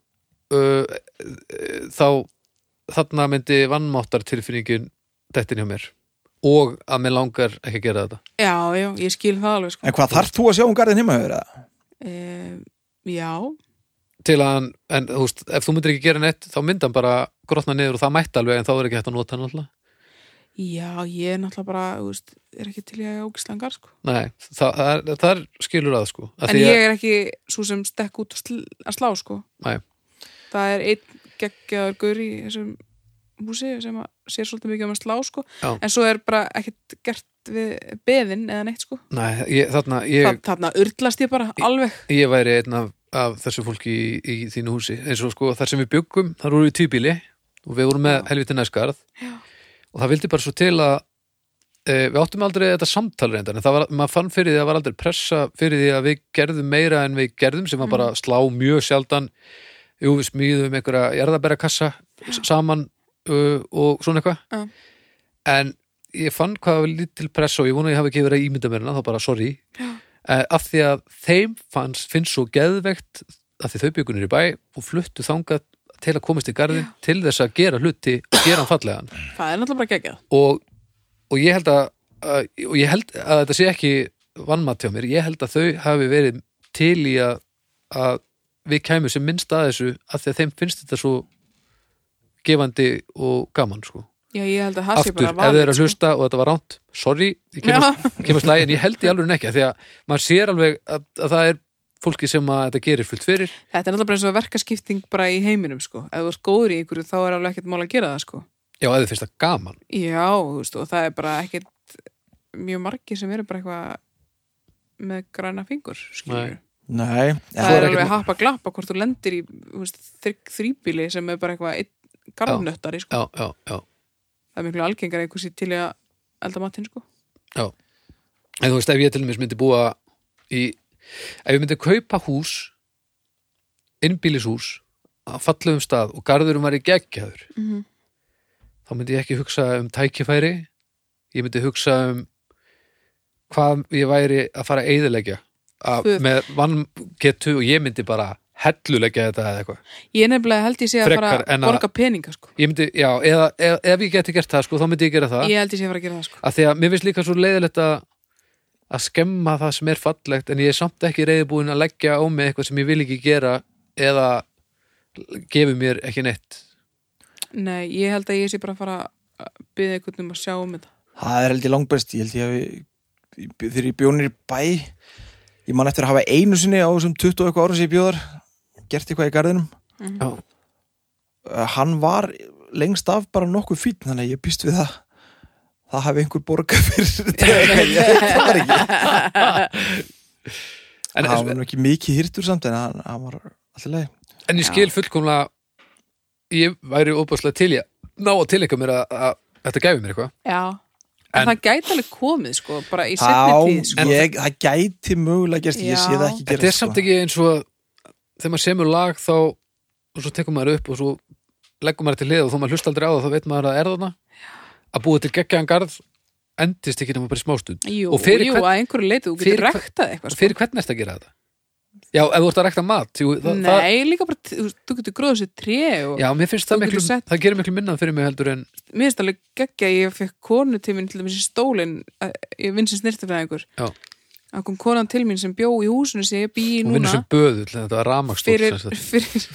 C: uh, uh, þá þarna myndi vannmáttar tilfinningin dettin hjá mér og að mér langar ekki að gera þetta
B: Já, já, ég skil það alveg sko
A: en hvað þarf þú að sjá um garðin heima hefur það?
B: e, Já,
C: til að hann, en þú veist, ef þú myndir ekki gera neitt þá myndi hann bara grotna niður og það mætti alveg en þá er ekki hægt að nota hann alltaf
B: já, ég er náttúrulega bara þú veist, er ekki til ég að ógislangar sko
C: Nei, það, það, er, það er skilur að sko að
B: En ég er ekki svo sem stekk út að sl- að slá sko
C: Nei.
B: Það er einn geggjaður gaur í þessum húsi sem að sér svolítið mikið um að slá sko
C: Já.
B: en svo er bara ekkert gert við beðin eða neitt sko
C: Nei, ég, þarna, ég,
B: Þa, Þarna urtlast ég bara alveg
C: ég væri einn af, af þessu fólki í, í þínu húsi eins og sko þar sem við byggum, þar vorum við týbíli og við vorum með helviti næskarð
B: Já.
C: og það vildi bara svo til að e, við áttum aldrei þetta samtal reyndar en það var, maður fann fyrir því að það var aldrei pressa fyrir því að við gerðum meira en við gerðum sem var bara
B: Mm.
C: slá mjög sjaldan jú við smíðum einhverja jarðabærakassa saman uh, og svona eitthvað
B: Já.
C: en ég fann hvað var lítil pressa og ég vona að ég hafi ekki verið að ímynda mér hana þá bara sorry uh, af því að þeim fanns, finnst svo geðvegt af því þau byggunir í bæ og fluttu þangað til að komast í garðin til þess að gera hluti og gera hann fallegan
B: Það er náttúrulega bara geggjað
C: og, og ég held að, að og ég held að þetta sé ekki vannmatt hjá mér, ég held að þau hafi verið til í að, að við kæmum sem minnst að þessu af því að þeim finnst þetta svo gefandi og gaman sko
B: Já, ég held að það sé
C: aftur,
B: bara sko.
C: ef þið eru
B: valið,
C: að hlusta og þetta var ránt sorry, ég kemur, kemur slæg en ég held í alveg ekki, af því að maður sér alveg að, að það er fólki sem að þetta gerir fullt fyrir,
B: sko. <laughs> Þetta er náttúrulega bara eins og verkaskipting bara í heiminum sko Ef þú ert góður í ykkur þá er alveg ekkert mál að gera það sko
C: já, eða finnst það gaman
B: Já, þú veist, og það er bara ekkert mjög margir sem eru bara eitthvað með græna fingur skilur
C: Nei.
A: nei,
B: það
A: ja,
B: er
C: er
B: alveg
C: ekkert-
B: happa glappa hvort þú lendir í þú veist, þrygg þrýbíli sem er bara eitthvað einn garðnöttari sko.
C: já, já, já,
B: það er miklu algengar eitthvað sér til í að elda matinn sko.
C: en þú veist, ef ég til dæmis myndi búa í, ef ég myndi kaupa hús innbýlishús á fallegum stað og garðurum var í geggjaður
B: Mhm.
C: þá myndi ég ekki hugsa um tækifæri ég myndi hugsa um hvað ég væri að fara að eyðileggja að
B: Föt.
C: með vanngetu og ég myndi bara helluleggja þetta eða eitthvað
B: ég nefnilega held ég sé að fara
C: Frekar en
B: að
C: að-
B: borga peninga sko.
C: ég myndi, já, eða, eða ef ég geti gert það sko, þá myndi ég gera það
B: ég held ég sé að fara að gera það sko.
C: af því að mér finnst líka svo leiðilegt að að skemma það sem er fallegt en ég er samt ekki reyðbúin að leggja á mig eitthvað sem ég vil ekki gera eða gefi mér ekki neitt
B: nei, ég held að ég sé bara að fara að byggja einhvern um að sjá um þetta
A: það er held ég langbest ég held ég að við, þegar ég bjónir í bæ ég man eftir að hafa einu sinni á þessum 20 og eitthvað ára sem ég bjóðar gert eitthvað í garðinum
C: já,
A: Uh, hann var lengst af bara nokkuð fín þannig að ég býst við það það hafi einhver borga fyrir
C: <laughs>
A: þetta Ég- það var ekki
C: En-
A: það var nú ekki mikið hýrtur samt en hann, hann var alltaf leið
C: en ég skil fullkomlega ég væri óbúslega til ég ná að tilika mér að, að þetta gæfi mér eitthvað
B: já en,
C: En-
B: það gæti alveg komið sko bara í
A: Þá,
B: setni tíð sko.
A: ég, það gæti mögulega gerst, ég sé það
B: Já.
A: ekki sko.
C: þetta
A: gerst
C: er samt ekki eins og að þegar maður semur lag þá og svo tekur maður upp og svo leggum maður til hlið og þó maður hlust aldrei á það þá veit maður að það er þarna að búið til geggjaðan garð endist ekki nema bara í smástund
B: jú,
C: og fyrir
B: jú
C: hvern-
B: að einhverju leiti, þú getur
C: fyrir hvern-
B: rektað eitthvað sko.
C: fyrir hvern ertu að gera þetta? Já, ef þú ert að rekta mat jú, það, það,
B: nei, líka bara, þú, þú getur gróðið sér tré og
C: Já, mér finnst það
B: Þú
C: miklu,
B: getur sett-
C: það gerir miklu minnað fyrir mig heldur en
B: mér finnst alveg geggja að ég fekk konu til mín til dæmis í stólin ég vinn sem snirtafræðingur
C: Já.
B: að kom konan til mín sem bjó í húsinu sem ég bý í
C: hún vinnur
B: núna
C: sem böðull, þetta var ramakstól
B: fyrir, fyrir,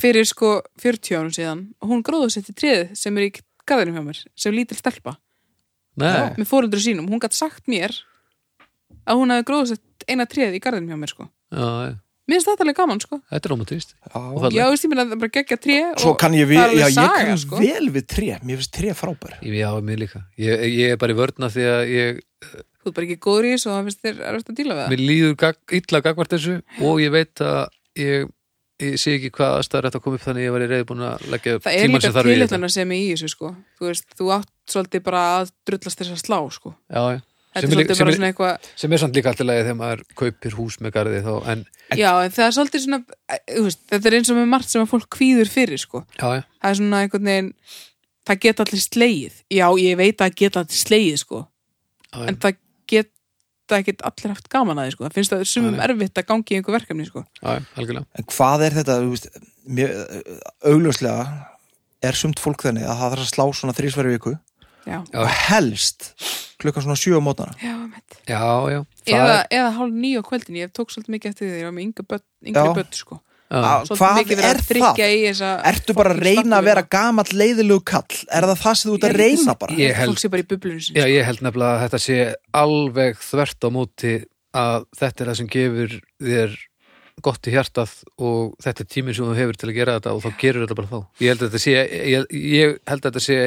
B: fyrir sko 40 árum síðan og hún gróðu setti tréð sem er í garðinum hjá mér sem lítil stelpa
C: Nei,
B: með fóreldur sínum, hún gætt sagt mér að hún hefði gróðu sett eina tréð í garðinum hjá mér sko
C: já, já,
B: mér finnst þetta alveg gaman sko
C: þetta er romantist Og
A: sko.
C: það-
B: já, veist, ég meina það er bara geggja tré og
A: Svo kann ég, við,
B: það er
A: já,
B: alveg
A: ég
B: saga,
A: kann
B: sko.
A: vel við tré, mér finnst tré frábær
C: Ég, já, mér líka. Ég, ég er bara í vörna því að ég,
B: þú er bara ekki góður í þessu og það finnst þér erfitt að díla við það
C: mér líður gag, illa gagvart þessu og ég veit að ég, ég sé ekki hvað aðstæður þetta að koma upp þannig að ég var í reyði búin að leggja upp
B: það er
C: tímann
B: líka
C: sem þarf í þetta.
B: tilitlunar sem er í þessu sko þú veist, þú átt svolítið bara að drullast þess að slá sko
C: Já, já.
B: þetta
C: Sem
B: er
C: er líka-
B: svolítið
C: sem
B: bara
C: er-
B: svona eitthvað
C: Sem er samt líka alltaf lagi þegar maður kaupir hús með garði þá, en
B: já, en það er svolítið svona eh, þú veist, þetta er eins og með margt sem að fólk kvíður fyrir sko
C: já, já.
B: það er svona einhvern veginn það geta allir slegið já, ég veit að það geta allir slegið sko
C: Já, já.
B: en það geta ekkert allir haft gaman að því sko það finnst það sumum erfitt að gangi í einhver verkefni sko
C: Já, já, algjörlega.
A: En hvað er þetta, þú veist, mér, augljóslega er sumt fólk þannig að það þarf að slá svona þrísværi viku
B: já,
C: Já.
A: og helst klukkan svona sjö á mótana
B: já, meitt
C: Já, já. Það
B: eða,
C: er-
B: eða hálf nýju á kvöldin, ég tók svolítið mikið eftir því ég var með yngra börn, yngri
A: Já.
B: börn sko
C: já.
B: Svolítið
A: Hvað
B: mikið verið að
A: er það?
B: tryggja í þessa
A: Ertu bara að
B: fucking hérna?
A: reyna
B: stakk
A: að vera gamall leiðilegu kall? Er það það sem þú ert að reyna bara?
C: Ég held-
B: Fólk sé bara í bublunum sinni
C: Já, ég held nefnilega að þetta sé alveg þvert á móti að þetta er það sem gefur þér gott í hjartað og þetta er tíminn sem þú hefur til að gera þetta og þá gerur þetta bara þá. Ég held að þetta sé, ég, ég held að þetta sé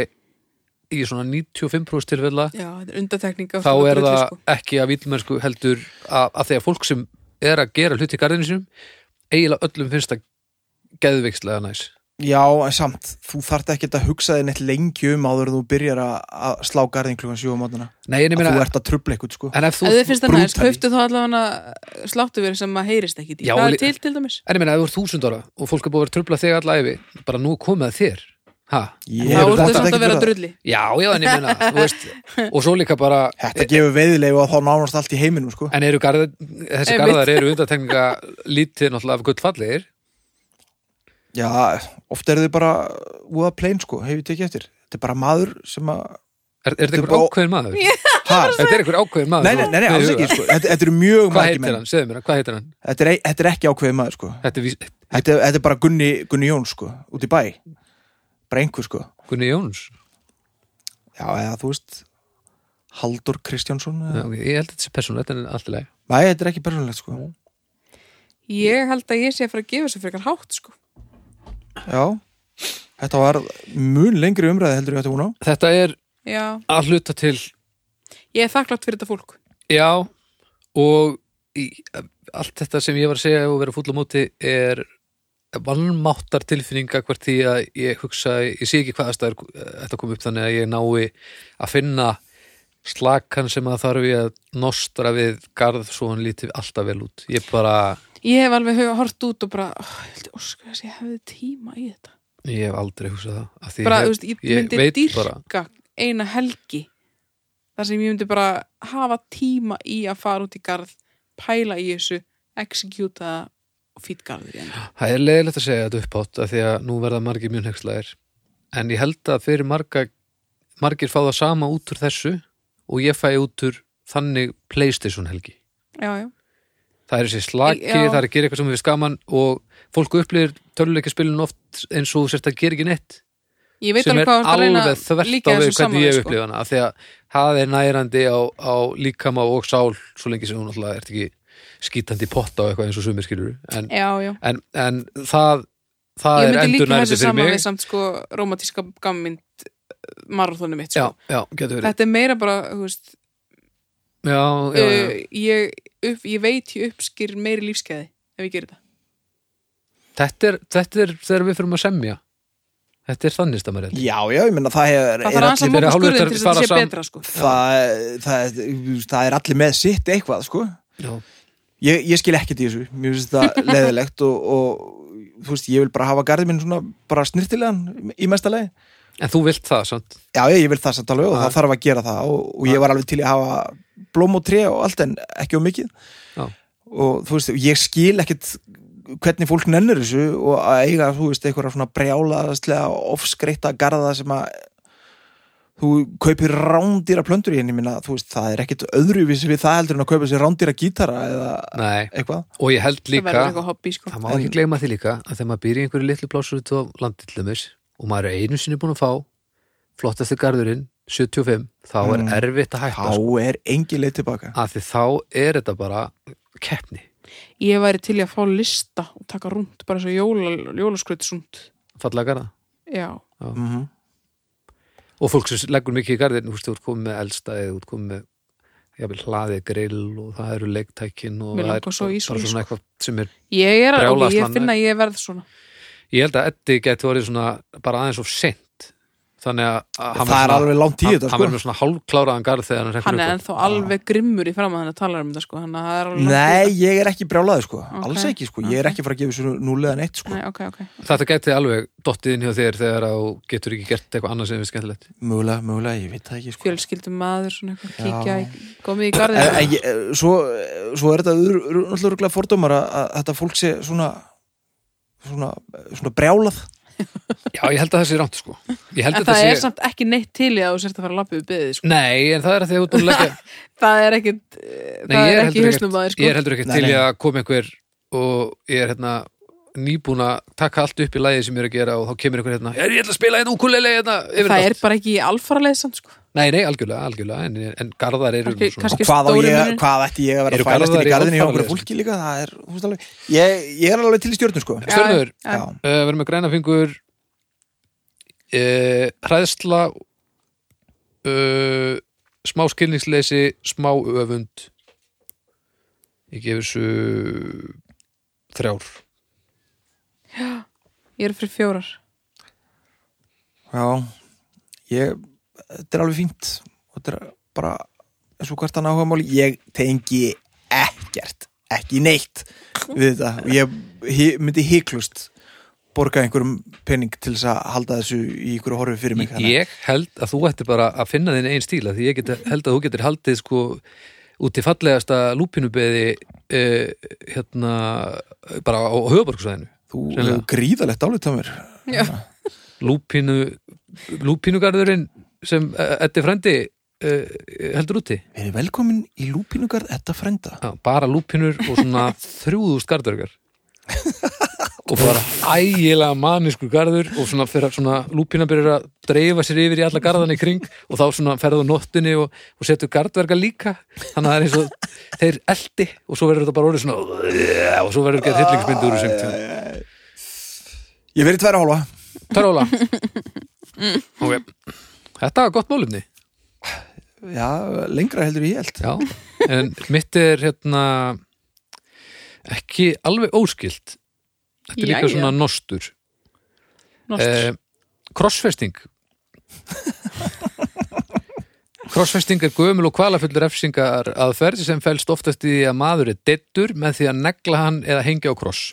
C: í svona 95% tilfella
B: Já, þetta er undatekninga
C: þá er það
B: sko.
C: ekki að villmennsku heldur að, að þegar fólk sem er að gera hluti í garðinu sinum eiginlega öllum finnst það geðveikslega næs.
A: Já, en samt, þú þarft ekki að hugsa þig neitt lengi um áður en þú byrjar að, að slá garðin klukkan sjö á mótana
C: Nei, en ég
A: að þú
C: meina,
A: ert að trubla eitthvað sko
C: en ef þú,
B: Ef þið finnst það næst,
A: brútali.
B: höftu þá allavega sláttu verið sem að heyrist ekki í.
C: Já, og
B: Það er
C: lí-
B: til til dæmis
C: en ég meina, ef þú er þúsund ára og fólk er búið að vera að trubla þig alla æfi, bara nú er komið að þér. Ha?
A: Ég
B: Þá
A: hef
B: er það
A: pottþétt
B: samt
A: ekkert
B: að vera
A: verið
B: drulli
C: Já, já, en ég
A: <laughs>
C: meina, þú veist og svo líka bara,
A: Þetta gefur veiðilegu að þá nánast allt í heiminum sko
C: en eru garðar þessi
B: Einmitt.
C: garðar eru undantekninga lítið náttúrulega af gullfallegir
A: Já, oft eru þið bara úða plain sko, hefur þið ekki eftir Þetta er bara maður sem að
C: Er, er þetta
A: Þetta er
C: einhver
A: bara-
C: ákveðin maður?
A: ha,
C: Þetta er einhver ákveðin maður
A: Nei, nei, nei, nei, alls ekki sko Þetta, þetta eru mjög
C: Hvað
A: margir
C: heitir
A: menn
C: hann? Segðu mér, hann, hvað heitir hann?
A: þetta er, e-, þetta er ekki ákveðið maður sko
C: Þetta er vís-
A: Þetta, þetta er bara Gunni, Gunni Jón sko, út í bæ bara einhver sko
C: Gunni Jóns
A: Já, eða þú veist Haldur Kristjánsson
C: Já,
A: eða...
C: ok, Ég held að þetta sé persónu, þetta er alltaf leið
A: Nei, þetta er ekki persónulegt sko
B: Ég held að ég sé að fara að gefa sér frekar hátt sko.
A: Já, þetta var mun lengri umræði heldur ég að þetta hún á
C: Þetta er
B: Já,
C: að hluta til
B: ég er þakklátt fyrir þetta fólk
C: Já og í, allt þetta sem ég var að segja og vera fúll á móti er vannmáttar tilfinninga hvert því að ég hugsa, ég sé ekki hvað aðstæður eh, þetta kom upp þannig að ég nái að finna slakan sem að þarf ég að nostra við garð svo hann lítið alltaf vel út ég bara,
B: Ég hef alveg hö- hort út og bara oh, Ég held ég óskar þess að ég hefði tíma í þetta
C: ég hef aldrei hugsað það af því
B: bara,
C: ég,
B: þú veist, ég,
C: ég
B: myndi
C: veit
B: dýrka
C: bara.
B: eina helgi þar sem ég myndi bara hafa tíma í að fara út í garð pæla í þessu, executa það og fýtt garður í
C: <gasps>
B: henni
C: Það er leiðilegt að segja þetta upphátt af því að nú verða margir mjög hegslaðir en ég held að fyrir marga margir fá það sama út úr þessu og ég fæ út úr þannig Playstation helgi.
B: já, já,
C: Það er þessi slaki,
B: Já.
C: það er að gera eitthvað sem við skaman og fólk upplýðir töluleikaspilin oft eins og þú sérst að gera ekki neitt
B: ég veit
C: sem er
B: alveg hvað þú ert að reyna
C: alveg
B: að
C: þvert á
B: líka
C: við
B: þessu sko. saman
C: hvernig ég
B: við,
C: hef upplýð hana af því að það er nærandi á, á líkama og sál svo lengi sem hún alltaf ert ekki skítandi í potta og eitthvað eins og sumir skilur en,
B: já, já,
C: en, en það, það
B: ég
C: er
B: myndi
C: endur
B: líka
C: nærandi
B: þessu
C: fyrir
B: saman
C: mig
B: við samt sko romantíska gammynd marathónu mitt
C: já,
B: sko.
C: já, getur verið
B: þetta er meira bara, þú veist
C: já, já, já.
B: uh, ég, upp, ég veit ég uppskýr meiri lífskeiði ef ég gerir þetta
C: Þetta, er, þetta er þegar við fyrir að semja Þetta er þannig stammar rétt
A: Já, já, ég menna það hefur
B: Það
A: er
B: þarf
A: all,
B: aðeins að
C: allir
B: móta
C: verið
B: skurðin
C: hálfvitar
B: til þess að
C: fara
B: þetta sé
C: saman.
B: betra sko.
A: það, það, það er allir með sitt eitthvað, sko
C: Já,
A: Ég, ég skil ekkert í þessu, mér finnst
C: <laughs>
A: þetta leðilegt og, og þú veist, ég vil bara hafa garðið minn svona bara snirtilegan í mesta lagi.
C: en þú vilt það, sant?
A: Já, ég, ég vil það samt alveg og
C: Já.
A: það þarf að gera það og, og ég var alveg til í að hafa blóm og tré og allt en ekki á mikið
C: Já.
A: og þú veist, ég skil ekkert hvernig fólk nennir þessu og að eiga, þú veist, einhverja svona brjálaðastlega ofskreita garða sem að þú kaupir rándýra plöndur í henni minna, þú veist, það er ekkert öðruvísi við það heldur en að kaupa sér rándýra gítara eða
C: Nei,
A: eitthvað.
C: og ég held
B: Það verður
C: líka
B: eitthvað hobby sko.
C: Það má ekki gleyma því líka að þegar maður býr í einhverju litlu blásuritt á landillumis og maður er einu sinni búin að fá flottastu garðurinn, 75 þá er
A: Mm.
C: erfitt að hætta sko,
A: Þá er engin leið tilbaka.
C: af því þá er þetta bara keppni,
B: Ég væri til í að fá lista og taka rúnt, bara svo jóla, jólaskraut rúnt.
C: fallega garða
B: Já,
A: Mm -hmm.
C: og fólk sem leggur mikið í garðin, þú veist, þú ert komið með eldstæði, þú ert komið með jafnvel hlaðið grill og það eru leiktækin og
B: Mér
C: það
B: langar
C: er
B: svo í
C: bara
B: svona,
C: svona eitthvað sem er
B: ég er að,
C: Brjálast
B: ég
C: hann,
B: finna að ég verð svona.
C: ég held að Eddi geti orðið svona bara aðeins of sent þannig að að hann
A: Það er
C: svona-
A: alveg langt í
C: hann-
A: þetta,
C: hann
A: sko.
C: verður með svona hálfkláraðan garð þegar hann rekkur
B: Hann er
C: upp úr.
B: ennþá
C: Ah.
B: alveg grimmur í fram að hann talar um þetta sko, hann er alveg...
A: Nei, ég er ekki brjálaður sko,
B: Ok.
A: alls ekki sko, ég er ekki að fara að gefa þessu núlega neitt sko,
B: Nei, ok, ok.
C: Þetta geti alveg dottið inn hjá þér þegar að þú getur ekki gert eitthvað annað sem er skemmtilegt.
A: mögulega, mögulega, ég veit það ekki sko.
B: Fjölskyldum maður, svona eitthvað,
A: Já.
B: kíkja, í- komið í
A: En,
B: garðin.
A: en, ég- eh, svo, svo er þetta öðru- öðru- náttúrulega örugglega fordómar að, að þetta fólk sé svona svona, svona brjálað
C: Já, ég held að það sé rámt, sko. Ég held
B: En
C: að það
B: það er
C: sé...
B: samt ekki neitt til í að þú sért að fara að lappa við byðið, sko.
C: Nei, en það er að því að þú ert búin að leggja...
B: Það er ekkit, eh,
C: Nei,
B: það
C: ég
B: er ekki
C: heldur
B: hausnum aður,
C: Ég
B: sko.
C: er heldur ekki
A: Nei,
C: til í
A: nei.
C: að koma einhver og ég er hérna nýbúin að taka allt upp í lagið sem ég er að gera og þá kemur einhver hérna, "Heyrðu, ég ætla að spila hérna ukulele hérna yfir
B: Það er
C: nótt."
B: bara ekki í alfaraleið samt, sko.
C: Nei, nei, algjörlega, algjörlega, en, en garðar eru nú svona...
B: Kannski-
A: og
B: Kannski
A: hvað, á
B: stóri
A: ég,
B: munurinn.
A: hvað ætti ég að vera
C: Eru
A: að fælast inn í
C: garðar í
A: garðinu hjá okkur
C: alfaraleið,
A: fólki líka það er, þú veist alveg ég, ég er alveg til í stjórnum sko
B: Já,
C: Stjörnur,
B: já.
A: Já.
C: uh, verðum með græna fingur uh, hræðsla uh, smá skilningsleysi smá öfund ég gefur þessu þrjár
B: Ég er fyrir fjórar.
A: Já, ég, þetta er alveg fínt og þetta er bara eins og hvert að náhuga máli, ég tengi ekkert, ekki neitt við þetta og ég hi, myndi hiklust borga einhverjum pening til þess að halda þessu í einhverju horfi fyrir mig þannig.
C: ég held að þú ætti bara að finna þinn einn stíla því ég get, held að þú getur haldið sko út í fallegasta lúpinubeði uh, hérna bara á höfuborgsvæðinu
A: Þú
C: Sennilega.
A: hefur gríðalegt álit á mér
B: Já.
C: lúpinu lúpinugarðurinn sem uh, Eddi frændi uh, heldur úti
A: Verið velkomin í lúpinugarð Edda frænda
C: Já, bara lúpinur og svona þrjúðust garðurgar og bara ægilega maniskur garður og svona, fyrir, svona lúpina byrjar að dreifa sér yfir í alla garðan í kring og þá svona ferðu á nóttunni og, og setur garðverka líka þannig að það er eins og þeir eldi og svo verður þetta bara orðið svona og svo verður gerð hillingsmynd úr þessum tíma
A: Ég verið tværa hálfa
C: Taróla ok, þetta var gott málumni
A: Já, lengra heldur ég held
C: Já, en mitt er hérna ekki alveg óskilt Þetta er líka
B: Jæja.
C: svona nostur
B: Nostur.
C: eh, Krossfesting Krossfesting er gömul og kvalafullur refsingar aðferð sem fælst oftast í því að maður er dettur með því að negla hann eða hengja á kross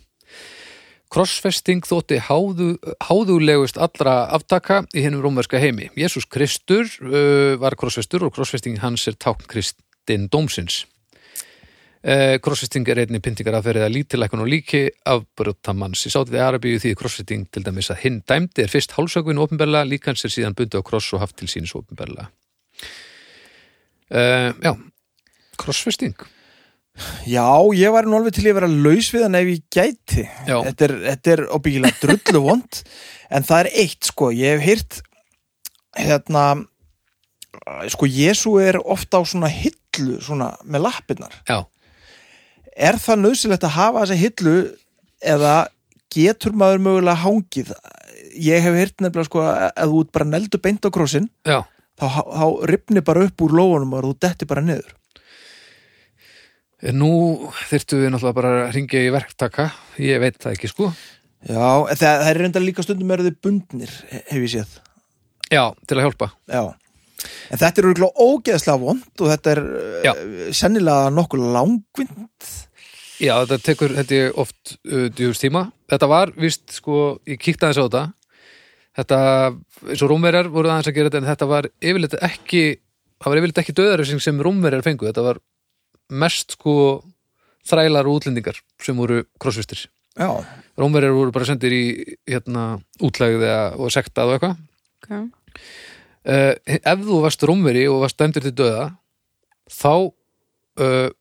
C: Krossfesting þótti háðu, háðulegust allra aftaka í hinnum rómverska heimi. Jésús Kristur uh, var krossfestur og krossfesting hans er tákn Kristinn Dómsins. Uh, krossfesting er einnig pyntingar að ferið að lítilækun og líki afbrjóta manns. Í sátiði Arabíu því krossfesting til dæmis að hinn dæmdi er fyrst hálsökvin ofinberlega, líkans er síðan bundi á kross og haft til sínis ofinberlega. Uh, já, krossfesting.
A: Já, ég væri nú alveg til í að vera laus við hann ef ég gæti
C: Já,
A: þetta er, þetta er óbyggilega drullu vond en það er eitt sko, ég hef heyrt hérna sko, Jésu er ofta á svona hillu svona með lappirnar
C: já,
A: er það nöðsilegt að hafa þessa hillu eða getur maður mögulega hangið ég hef heyrt nefnilega sko að ef þú ert bara neldu beint á krossin
C: já.
A: þá, þá ripni bara upp úr lófunum og þú dettir bara niður
C: Nú þyrftum við náttúrulega bara að ringja í verktaka, ég veit það ekki sko.
A: Já, það, það er reyndar líka stundum eru þið bundnir, he- hef ég séð
C: já, til að hjálpa
A: Já En þetta er örgulega ógeðslega vond og þetta er
C: Já.
A: uh, sennilega nokkuð langvind
C: Já, þetta tekur, held ég, oft uh, djúfust tíma. Þetta var, víst, sko, ég kíkti aðeins á þetta. Þetta, eins og rómverjar voru aðeins að gera þetta, en þetta var yfirleitt ekki, það var yfirleitt ekki döðarefsing sem rómverjar fengu. Þetta var mest, sko, þrælar og útlendingar sem voru krossvistir.
A: Já,
C: Rómverjar voru bara sendir í, hérna, útlegið eða- og sektað og eitthvað.
B: ok,
C: Uh, ef þú varst rómveri og varst dæmdur til döða, þá uh,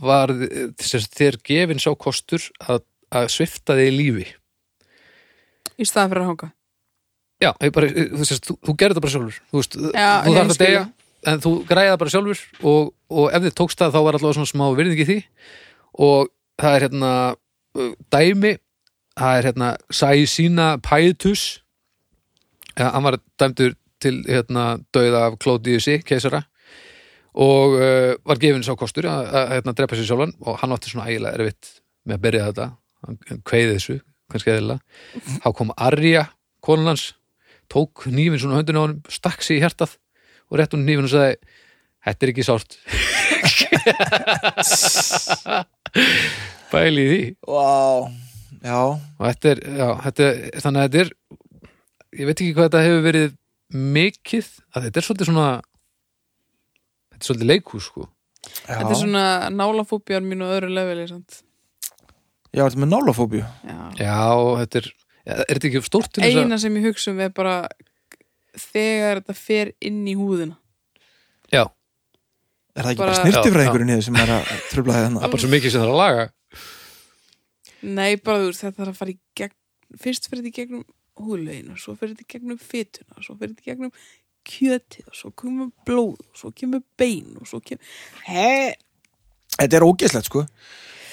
C: var þess, þér gefin sá kostur að, að svifta þig lífi
B: í staði fyrir að hanga
C: já, ég bara, eh, þú, sérst, þú, þú gerir það bara sjálfur þú, veist,
B: Já,
C: þú
B: ég
C: þarf að
B: skil.
C: deyja en þú græði það bara sjálfur og, og ef þið tókst það þá var allavega svona smá virðing í því og það er hérna uh, dæmi það er hérna Sæsína Pætus ja, hann var dæmdur til hérna dauða af Klódiusi keisara og uh, var gefin sá kostur að, að, hérna drepa sér sjálfan og hann átti svona ægilega erfitt með að byrja þetta hann hann kveiði þessu, kannski eðlilega þá kom Arja, konan hans tók nýfin svona höndun á hann stakk sig í hjartað og rétt hún nýfin og sagði þetta er ekki sárt bæli í því
A: wow. já,
C: og þetta er, já, þetta er þannig að þetta er ég veit ekki hvað þetta hefur verið mikið að þetta er svolítið svona þetta er svolítið leikhús sko
A: já
B: Þetta er svona nálafóbjar mín og öðru leveli sant?
A: Já, þetta er með nálafóbíu
B: Já.
C: já, og þetta er, ja, er þetta ekki stórt til þess að
B: Eina sem ég hugsa um er bara þegar þetta fer inn í húðina
C: já,
A: Er það ekki
B: Bara-
A: bara, snirtifræðingurinn í þessu sem er
B: <laughs>
A: að trubla það
C: það
A: hérna
C: er bara svo mikið sem það er að laga
B: Nei, bara þú veist, þetta þarf að fara í gegn fyrst fyrir þetta í gegnum húðlegin og svo fyrir þetta í gegnum fytuna og svo fyrir þetta í gegnum kjötið og svo kemur blóð og svo kemur bein og svo kemur He,
A: Þetta er ógeðslegt sko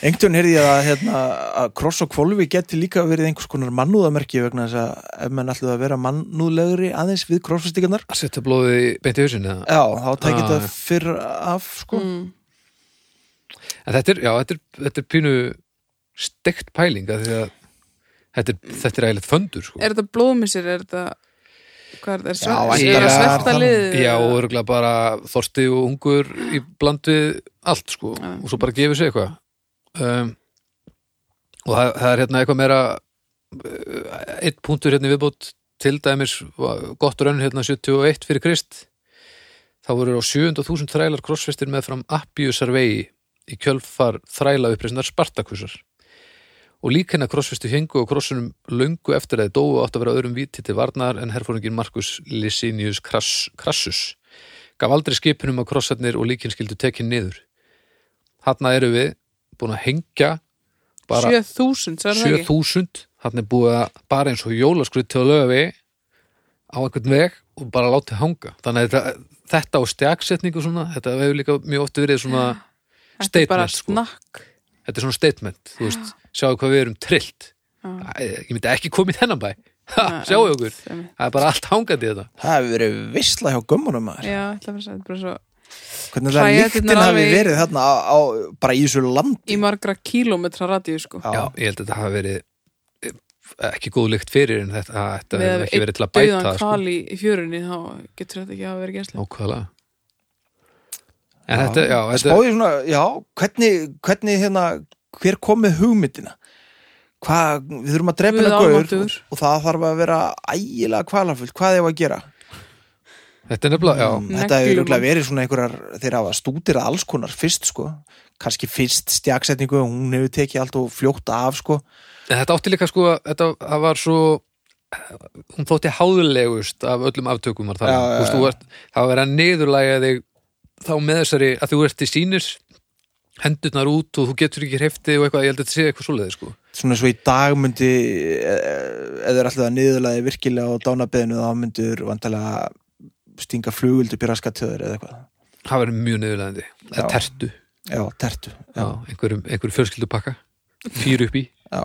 A: Engtjón heyrði ég að, hérna, að kross og kvolfi geti líka verið einhvers konar mannúðamerki vegna þess að ef menn ætlaði að vera mannúðlegri aðeins við krossfestíkarnar
C: að setja blóðið í- beint í hausinu eða
A: Já, þá
C: Ah,
A: tækir
C: já.
A: þetta fyrr af sko
B: mm,
C: En þetta er, já, þetta er, þetta er pínu steikt pæling að því að þetta er, þetta er eiginlega föndur, sko.
B: er þetta blóðmissir, er þetta hvað er
A: Já,
B: þetta,
A: en
B: er þetta
A: bara-
B: sverta liðið
C: Já, og
B: eða-
C: örgulega bara þorsti og hungur í bland við allt, sko,
B: Já.
C: og svo bara gefur sig eitthvað. Um, og það, það er hérna eitthvað meira, uh, einn punktur hérna í viðbót, til dæmis var gott raun hérna 71 fyrir Krist, þá voru á 700.000 þrælar krossfestir með fram Appiusar vegi í kjölfar þræla uppreisnar Spartakusar. og lík hennar krossfestu hengu og krossunum löngu eftir að þið dóu átt að vera öðrum viti til varnar en herfóringin Markus Licinius Crass, Crassus gaf aldrei skipunum að krossarnir og líkin skildu tekin niður. Þarna eru við búin að hengja bara
B: 7000, sagði það ekki
C: 7000 þarna er búið að bara eins og jólaskrutt til að löga við á einhvern veg og bara látið hanga. Þannig að þetta, þetta og stjaksetningu svona, þetta hefur líka mjög oft verið svona
B: Þetta er bara
C: statement, sko.
B: snakk
C: þetta er svona statement þú veist, sjáu hvað við erum trillt
B: Já.
C: Æ, ég myndi ekki koma í þennan bæ ha,
B: Nei,
C: sjáu
B: en-
C: okkur,
B: einmitt.
C: það er bara allt hangandi í þetta
A: Það hefur verið vissla hjá gömmunum maður
B: Já, ætla að fara að segja, þetta er bara svo
A: Hvernig það
B: Hræ-
A: líktinn hafi
B: alveg-
A: verið þarna á, á, bara í þessu landi
B: í margra kílómetra radíu sko
A: Já,
C: já, ég held að þetta hafi verið eh, ekki góð lykt fyrir en þetta, að þetta
B: Með
C: hefur ekki verið til að bæta
B: dauðan
C: það, sko.
B: kval í, í fjörunni þá getur þetta ekki að vera gæslega
C: nákvæmlega en þetta, já, þetta
A: Spáði svona, já, hvernig, hvernig hérna, hver kom með hugmyndina? Hvað, við þurfum að drepa
B: Guð
A: hérna gaur og,
B: almáttugur.
A: og það þarf að vera ægilega kvalafullt, hvað hefur að gera? Mm,
C: þetta er nefnilega, já,
A: Þetta
B: Neglum.
A: hefur örugglega verið svona einhverjar þeir hafa stútir alls konar fyrst sko kannski fyrst stjaksetningu hún hefur tekið allt og fljótt af sko
C: en þetta átti líka sko, þetta það var svo hún þótti háðulegust af öllum aftökum var það,
A: Já, já,
C: Þú veist, þú ert, það var að niðurlæga þig þá með þessari að þú ert í sínir hendurnar út og þú getur ekki hrefti og eitthvað, ég held að þetta sé eitthvað svoleiði sko.
A: svona svo í dag myndi eh, eða er alltaf að niðurlaði virkilega á dánabeðinu þá myndur vandalega stinga fluguldu piraskatöður eða eitthvað
C: það verður mjög niðurlægandi eða
A: Já.
C: tertu, já,
A: já, tertu já,
C: einhverjum, einhverjum fjölskyldupakka fyrir upp í,
A: já,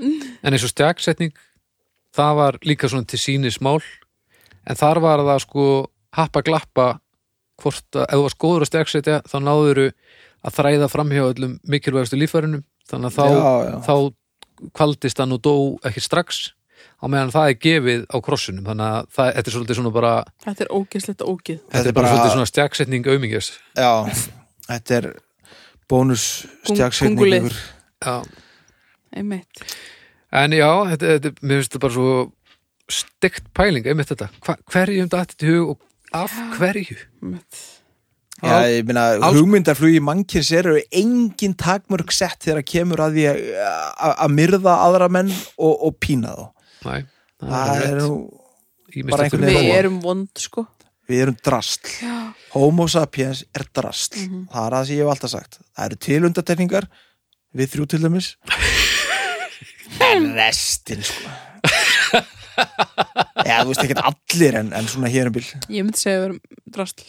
C: en eins og stjaksetning það var líka svona til sínismál en þar var það sko happa glappa hvort að ef þú varst góður að stjaksetja þá náðuru að þræða framhjá öllum mikilvægastu lífærinum þannig að
A: já,
C: þá,
A: já.
C: þá kvaldist hann og dó ekki strax á meðan það er gefið á krossunum þannig að það, þetta er svolítið svona bara þetta,
B: Þetta er ógeðslegt ógeð.
C: er bara svolítið svona stjagsetning aumingjast
A: já, þetta er bónus
B: Kung-
A: stjagsveitningur
B: kóngulið.
C: já.
B: Einmitt.
C: en já, þetta, þetta, mér finnst þetta bara svo stekt pæling, einmitt þetta Hva, hverjum dætti til hug og af hverju
B: Einmitt.
A: já, ég meina,
C: Alls-
A: hugmyndarflugi mannkins eru engin takmörg sett þegar kemur að því að- að að myrða aðra menn og, og pína þá
C: Nei,
A: það er nú, bara einhvern
B: Við
A: veginn.
B: erum vond, sko.
A: við erum drastl homo sapiens er drastl
B: Mhm.
A: það er það sem ég hef alltaf sagt það eru tilundatekningar, við þrjú til dæmis En restin sko Já, þú veist ekki allir en, en svona hér um bíl
B: Ég myndi segja að við erum drastl.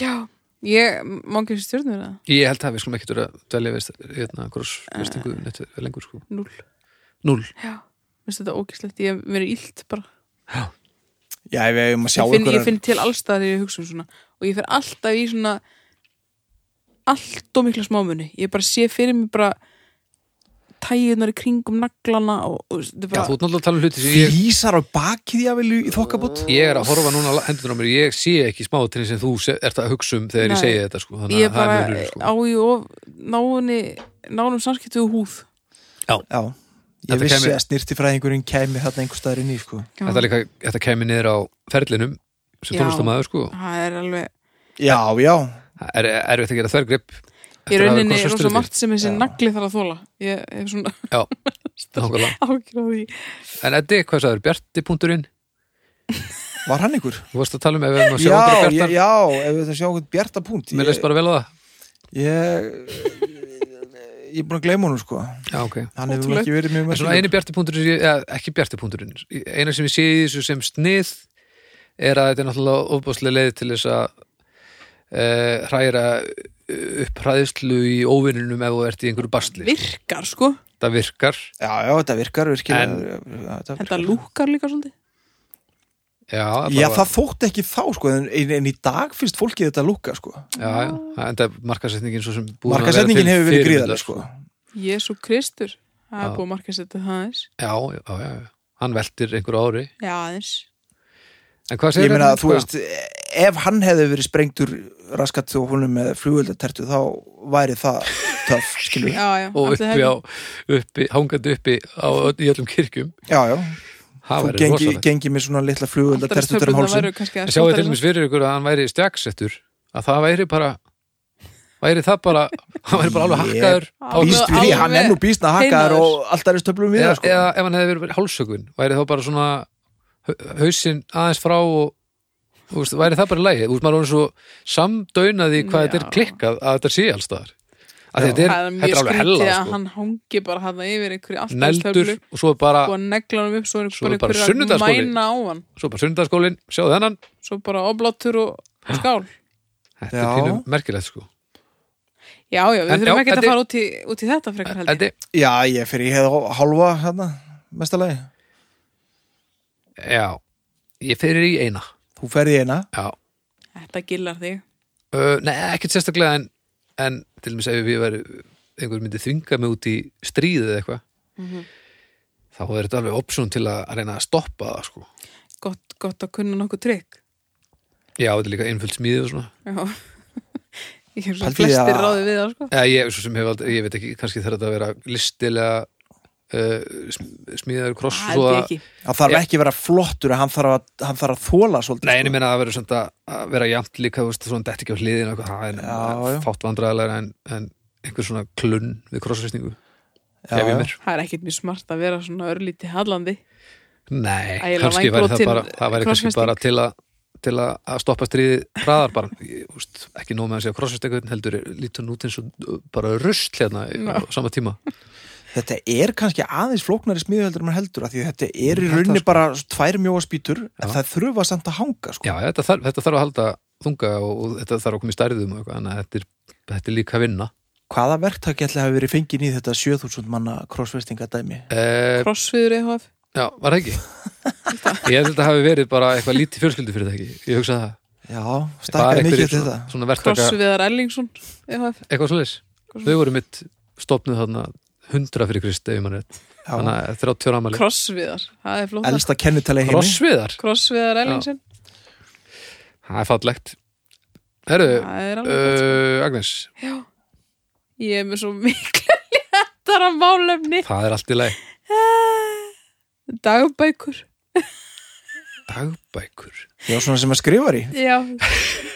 B: Já. Ég, má ekki þessi stjórnir það?
C: Ég held að við skulum ekkert vera að dvelja veist, hérna, krossfestingu
B: Eh.
C: uh, lengur sko.
B: Núl.
C: Núl
B: Já. Mér finnst þetta ógeðslegt. Ég mér er illt bara.
A: Já, ef við hefum að sjá
B: Ég finn,
A: ykkur
B: ég finn til allstað þegar ég hugsa um svona. Og ég fer alltaf í svona allt og mikla smámunni. Ég bara sé fyrir mig bara tæjunar í kringum naglana og, og þetta
C: Já,
B: er bara...
C: þú ert náttúrulega að tala um hluti sem ég,
A: flýsar á bakið ég vil í þokkabútt
C: ég er að horfa núna á hendur á mér, ég sé ekki smáatriðin sem þú se- ert að hugsa um þegar ég
B: Nei.
C: segi þetta sko. Þannig
B: ég
C: að það
B: bara
C: er mjög rugl, sko.
B: á í of náunni, nánum samskiptu og húð
A: Já, ég
C: Þetta
A: vissi
C: kæmi-
A: að snirtifræðingurinn kæmi þarna einhver staðar inn í sko.
B: Já.
C: Þetta, er líka, þetta kemur niður á ferlinum sem
B: Já.
C: tónlistamæður sko.
B: það er alveg
A: Já, já,
C: Það er erfitt að gera þvergrip að
B: í
C: hafa
B: rauninni
C: krossfest
B: rosa
C: hluti.
B: margt sem þessi
A: Já.
B: nagli þarf að þóla ég hef svona <laughs>
C: Já,
B: sko.
C: nákvæmlega.
B: ágjur á því
C: En Eddi, hvað sagður, Bjarti.in
A: var hann ykkur?
C: Þú varst að tala um ef við erum að sjá
A: Já,
C: okkur
A: ég,
C: Bjartar
A: já, ef við það sjá okkur bjarta punkt
C: Mér leist bara vel á það
A: Ég, ég er búin að gleyma honum sko
C: Já, ok
A: Hann hefur nú
B: Ótrúlegt.
A: ekki verið mjög
C: En svona
A: merkilegur.
C: eini bjartipunkturinn, sem ég- eða ekki bjartipunkturinn, eina sem ég sé í þessu sem snið er að þetta er náttúrulega ofbáslega leið til þess að e, hræra upp hræðslu í óvinnunum ef þú ert í einhverju bastli.
B: virkar sko,
C: Það virkar,
A: Já, já, þetta virkar virkilega
C: En-
A: Já, þetta virkar.
B: þetta lúkar líka svolítið
C: já,
A: Já, það þótt ekki þá sko en, en en í dag finnst fólkið þetta lúka sko
C: já, já, já, en það er markasetningin svo sem búin að vera til
A: Markasetningin hefur verið
C: fyrirmyndar,
A: gríðarlega sko
B: Jésu Kristur, það er
C: Já.
B: búið að marka setja það aðeins
C: Já, já, já, já, hann veltir einhverju ári.
B: já aðeins,
C: En hvað
A: Ég
C: segir
A: meina,
C: hann,
A: þú
C: sko?
A: veist, ef hann hefði verið sprengtur raskat og húnum með flugöldatertu þá væri það
B: <laughs>
A: töff, skilur við
B: já já
C: Og
B: allir
C: uppi
B: hefði-
C: á, uppi, hangandi uppi á, í öllum kirkjum.
A: Já, já,
C: Það
A: þú
C: væri
A: gengi,
C: rosalegt.
A: gengi með svona litla
B: allir
A: flugöldatertu
B: stöflurnar
A: um hálsinn
B: væru kannski að
C: En sjáu
B: standa
C: til dæmis fyrir ykkur að hann væri stjagsettur að það væri bara væri það bara, <laughs> hann væri bara alveg
A: Ég
C: hakkaður á-
B: Alveg-
A: Býst við því, hann
B: alveg
A: er nú býstna hakkaður
B: heinaður.
A: og alltaf er stöflum við
C: eða,
A: það sko
C: eða ef hann hefði verið hálsökun væri þá bara svona hau- hausinn aðeins frá og þú veist, væri það bara í lægi, þú veist maður er orðinn svo samdönað í hvað
B: Já.
C: þetta er klikkað að þetta sé alls staðar að þetta er,
B: það er
C: þetta
B: mjög
C: er alveg
B: skrítið
C: hella
B: að
C: sko.
B: hann hangi bara hann yfir einhverju alltaf
C: neldur og svo er bara,
B: og neglanum upp svo er
C: Svo er
B: bara
C: bara
B: einhverju að
C: sunnudagsskóli.
B: mæna á hann
C: svo er bara sundarskólin sjáðu þennan,
B: svo bara oblátur og skál
C: þetta
A: Já.
C: er pínum merkilegt sko
B: já, já, við
C: En já,
B: þurfum ekki að
C: Eddi-
B: fara út í, út í þetta frekar held
C: Eddi,
B: ég
A: Já, ég fyrir ég hefði hálfa hérna, mestalagi
C: já ég fyrir í eina
A: Þú ferði eina
C: já
B: þetta gillar þig
C: Uh, nei, ekkert sérstaklega en, en til og með segja við væri einhver myndi þvinga mig út í stríðið eða eitthvað
B: Mhm.
C: þá er þetta alveg option til að að reyna að stoppa það sko.
B: gott, gott að kunna nokkuð trygg
C: Já, þetta er líka einföld smíði og svona
B: já <laughs> ég er svo
A: Pældi því
B: flestir
A: að-
B: ráði við það sko
C: Eða, ég, svo sem hef aldrei, ég veit ekki, kannski þarf þetta að vera listilega uh, smíðaður kross
B: Það held
C: svo
B: ég
C: að-
B: ekki
A: Það þarf
C: Já.
A: ekki að vera flottur en hann þarf að, hann þarf að þóla svolítið
C: Nei, en
A: sko.
C: ég meina að vera, svona, að vera jæmt líka þú veist, svona detti ekki á hliðin og eitthvað, það er
A: Já, já.
C: fátt vandræðalega en, en einhver svona klunn við krossreysningu
A: Já,
C: Ef ég
A: já.
C: mér
B: það er ekkit mjög smart að vera svona örlítið hallandi
C: Nei,
B: Ægilega
C: kannski væri það
B: vangbrotin
C: bara, það væri kannski
B: krossfesting.
C: bara til, að, til að, að stoppa stríði hraðar bara, ég, úst, ekki nóg með að segja krossfestekun heldur er- lítur hún út eins og uh, bara rusl hérna
B: Já.
C: á sama tíma
A: Þetta er kannski aðeins flóknari smíðu heldur en maður heldur að því að þetta er í
C: Þetta
A: rauninni
C: sko.
A: bara tvær mjóaspítur en
C: Já.
A: það þurfa samt að hanga sko.
C: Já, þetta þarf, þetta þarf að halda þunga og, og þetta þarf að koma í stærðum og eitthvað, þannig að þetta er, þetta er líka vinna
A: Hvaða verktaki ætli hafi verið fengin í þetta 7000 manna crossfestinga dæmi?
C: e,
B: crossfiður EHF
C: Já, var það ekki? ég held að þetta hafi verið bara eitthvað lítið fjölskyldu fyrir það ekki, ég hugsa það
A: Já,
C: Bara
A: stakkaði mikið
C: einhverjir sko.
A: til
C: svona,
A: þetta.
C: svona verktaka,
B: crossfiðar Erlingsson EHF
C: eitthvað svoleiðis Þau voru mitt stopnuð þarna hundra fyrir Krist, ef ég mann rétt
A: já,
C: þannig að 30 ára amali
B: Krossviðar, það er flott
A: elsta kennutali heimi
C: Krossviðar,
B: Krossviðar Ellingsson
C: það er fallegt Herru,
B: Það er alveg gott sko.
C: uh, Agnes
B: Ég er með svo miklu <laughs> léttara málefni
C: það er allt í lagi
B: Dagbækur
C: Dagbækur,
A: já, svona sem að skrifar í
B: Já,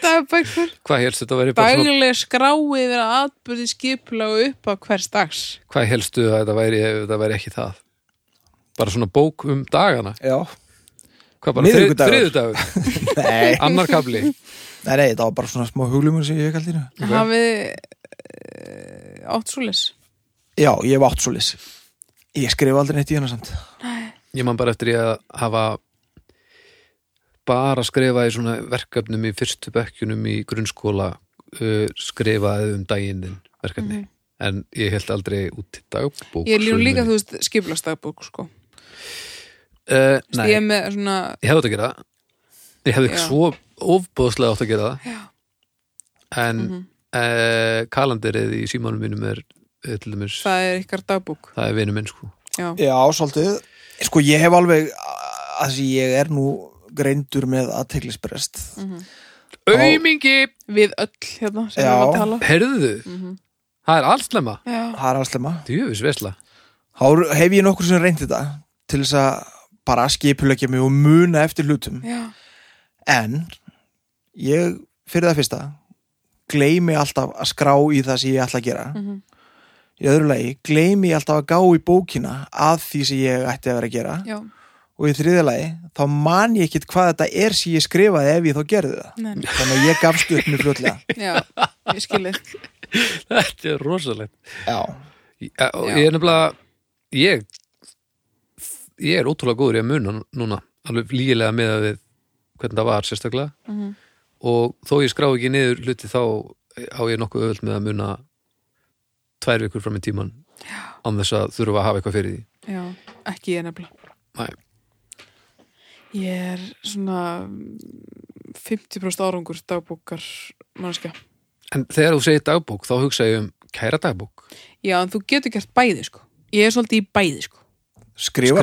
B: dagbækur
C: hvað helst þetta að vera bara svona,
B: Dagleg skrái yfir atbyrði skipla og upp af hvers dags
C: hvað helstu að þetta væri ef þetta væri ekki það bara svona bók um dagana
A: já,
C: hvað bara þrið,
A: Miðvikudagur.
C: þriðudagur,
A: nei,
C: annar kabli
A: nei, nei það var bara svona smá huglumur sem ég kaldi hérna
C: Ok.
B: Hafið uh, átt svolis
A: já, ég hef átt svolis ég skrifa aldrei neitt í hana samt
C: ég man bara eftir ég að hafa bara skrifað í svona verkefnum í fyrstu bekkjunum í grunnskóla uh, skrifaði um daginn þinn verkefni en ég held aldrei út til dagbók
B: Mhm. Ég er líka, líka
C: þú
B: þú veist, skiplastagbók sko.
C: uh,
B: Þú
C: Nei,
B: veist, Ég er með svona
C: ég hefði átt að gera það ég hefði
B: Já.
C: svo ofbóðslega átt að gera það
B: Já.
C: en mm
B: mhm.
C: kalanderið í símanum mínum er eh, til dæmis, það,
B: Það er ykkar dagbók
C: er vinur minn sko
B: Já,
A: já, svolítið sko, ég hef alveg að því ég er nú greindur með aðteglisbrest
C: Aumingi,
B: við öll hérna sem
A: Já.
B: við varum að tala
C: herðu
B: Mhm.
C: það er alls lemma,
B: Já,
A: það er allslega
C: djöfis vesla
A: þá hef ég nokkur sem reyndi þetta til þess að bara skipulegja mig og muna eftir hlutum
B: já,
A: en ég fyrir það fyrsta gleymi alltaf að skrá í það sem ég ætla að gera
B: Mhm.
A: í öðru lagi, gleymi ég alltaf að gá í bókina að því sem ég ætti að vera að gera
B: já,
A: og í þriðja lagi, þá man ég ekkit hvað þetta er sem ég skrifaði ef ég þá gerði það
B: nei, nei,
A: þannig að ég gafst upp mjög fljótlega
B: já, ég skil þig
C: þetta er rosalegt
A: já,
C: Ég- eh, og
B: Já.
C: ég er nefnilega ég, ég er ótrúlega góður í að muna núna, alveg lígilega með að við hvernig það var sérstaklega
B: Mhm.
C: og þó ég skrá ekki niður hluti þá á ég nokkuð öðvöld með að muna tvær vikur fram í tíman án þess að þurfa að hafa eitthvað fyrir því
B: Já, ekki ég nefnilega
C: Nei.
B: Ég er svona 50% árangur dagbókar mannskja
C: en þegar þú segir dagbók þá hugsa ég um kæra dagbók
B: Já, en þú getur gert bæði sko Ég er svolítið í bæði sko
A: skrifar,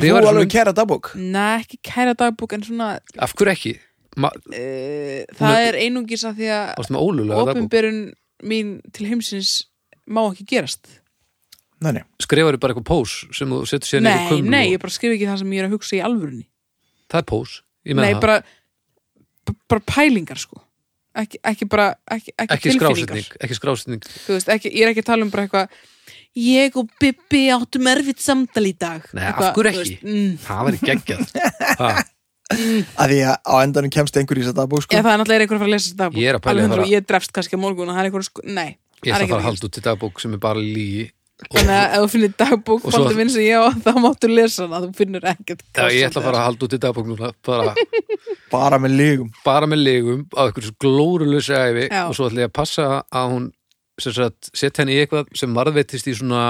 C: Skrifar
A: þú
C: þú
A: alveg
C: mynd-
A: kæra dagbók
B: Nei, ekki kæra dagbók en svona
C: af hverju ekki? Ma,
B: uh, Það
C: Nei.
B: er einungis að því að
C: varstu með ólulega dagbók
B: Opinberun mín til heimsins má ekki gerast
A: nei, nei.
C: skrifarðu bara eitthvað pós sem þú setur sér niður í
B: Nei,
C: kumlu
B: nei,
C: og-
B: ég bara skrif ekki það sem ég er að hugsa í alvörunni
C: það er pós, ég með
B: Nei,
C: það
B: bara, b- bara pælingar sko ekki, ekki bara, ekki, ekki,
C: ekki
B: tilfinningar
C: skrásetning, ekki skrásetning
B: Þú veist, ekki, ég er ekki að tala um bara eitthvað ég og Bibi áttum erfitt samtal í dag
C: Nei,
B: Eitthvað,
C: af hverju
B: þú
C: ekki?
B: veist, mm,
C: það væri <laughs> geggjað Ha,
A: að því að á endanum kemst einhver í þess að dagbók sko.
B: Já, það er náttúrulega er einhver að fara að lesa þetta
C: Ég er að pæla í að fara-
B: Ég drefst kannski á morgun og það er einhver sko Nei,
C: ég ætla að
B: það
C: fara að
B: gerast.
C: halda út í dagbók sem er bara lígi og
B: Þannig að ef þú finnir dagbók
C: Og svo-
B: Baldur minn sem ég á, þá máttu lesa hana Þú finnur ekkert
C: Já, ég ætla að fara að halda út í dagbók núna
B: <laughs>
C: bara,
A: bara með lígum
C: bara með legum á einhverju glórulösa æfi
B: Já.
C: og svo ætla ég að passa að hún sem sagt, setja henni í eitthvað sem varðveitist í svona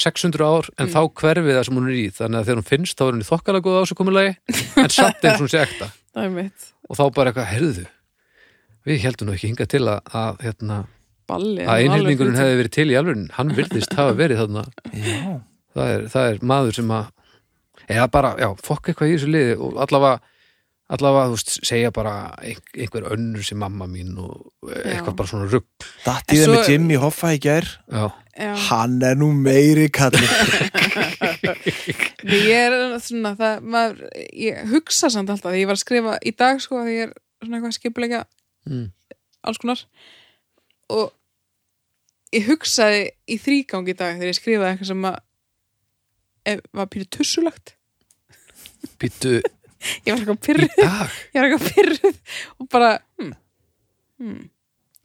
C: 600 ár en
B: Mm.
C: þá hverfi það sem hún er í þannig að þegar hún finnst þá er henni þokkalega góð á þessu komulagi en samt eins og hún sé ekta
B: Það er mitt
C: og þá bara eitthvað, herðu við heldum nú ekki hingað til að, að, hérna,
B: Balli
C: að einhyrningurinn hefði verið til í alvörin hann virðist hafa verið þarna
A: já,
C: það er, það er maður sem að eða bara, já, fokk eitthvað í þessu liði og allavega, allavega þú veist, segja bara ein- einhver önnur sem mamma mín og eh,
B: Já.
C: eitthvað bara svona rugg
A: datt í það
B: En svo-
A: með Jimmy Hoffa í gær
C: já,
B: hefði
A: hann er nú meiri
B: <laughs>
A: kallið
B: Ég er svona það, maður, Ég hugsa samt alltaf Því ég var að skrifa í dag sko Því ég er svona eitthvað skipulega
C: mm.
B: alls konar og ég hugsaði í þrýgang í dag þegar ég skrifaði eitthvað sem að ef, var pínu tussulagt
C: býttu
B: ég var eitthvað
C: í
B: pyrruð,
C: dag
B: ég var eitthvað pyrruð og bara hmm, hmm,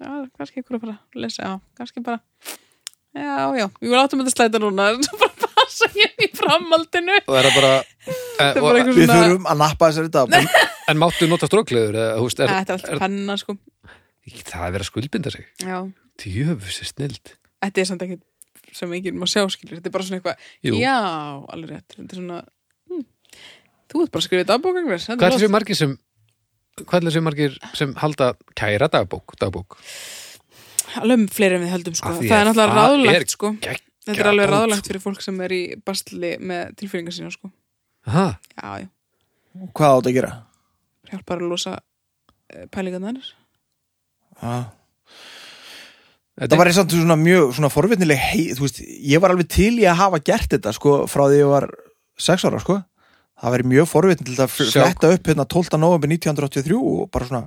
B: já, kannski ykkur að bara lesa, já, kannski bara já, já, við látum þetta slæta núna <laughs> svo bara passa ég í framhaldinu
C: og er það bara,
B: <laughs> það
C: e,
B: er bara
C: og,
B: eitthvað
A: við
B: svona
A: þurfum að nappa þessari dagbók
C: en máttu nota strókleður eða, þú veist,
B: Æ,
C: er,
B: þetta er allt penna sko
C: er, það er verið að skuldbinda sig
B: já,
C: djöfus er snild
B: þetta er samt ekki sem enginn má sjá skilur, þetta er bara svona eitthvað
C: Jú.
B: Já, alveg rétt Þetta er svona hm, Þú ert bara að skrifa dagbók Agnes. Þetta
C: hvað
B: er
C: er þessi
B: flott.
C: margir sem hvað er þessi margir sem halda kæra dagbók, dagbók
B: Alveg um fleiri en við höldum sko.
C: Af því
B: Það er
C: að
B: náttúrulega
C: það
B: ráðlegt
C: er-
B: sko. Þetta er alveg ráðlegt fyrir fólk sem er í bastli með tilfyringar sína sko.
C: Aha,
B: Já, já,
A: Hvað átt að gera?
B: hjálpar að losa eh, pælingarnar
A: Ah.
C: þetta
A: Það var eins og svona mjög svona forvitnileg hei, þú veist, ég var alveg til í að hafa gert þetta sko, frá því ég var sex ára sko. það væri mjög forvitnileg að fl-
C: Sjá.
A: fletta upp hérna 12. november 1983 og bara svona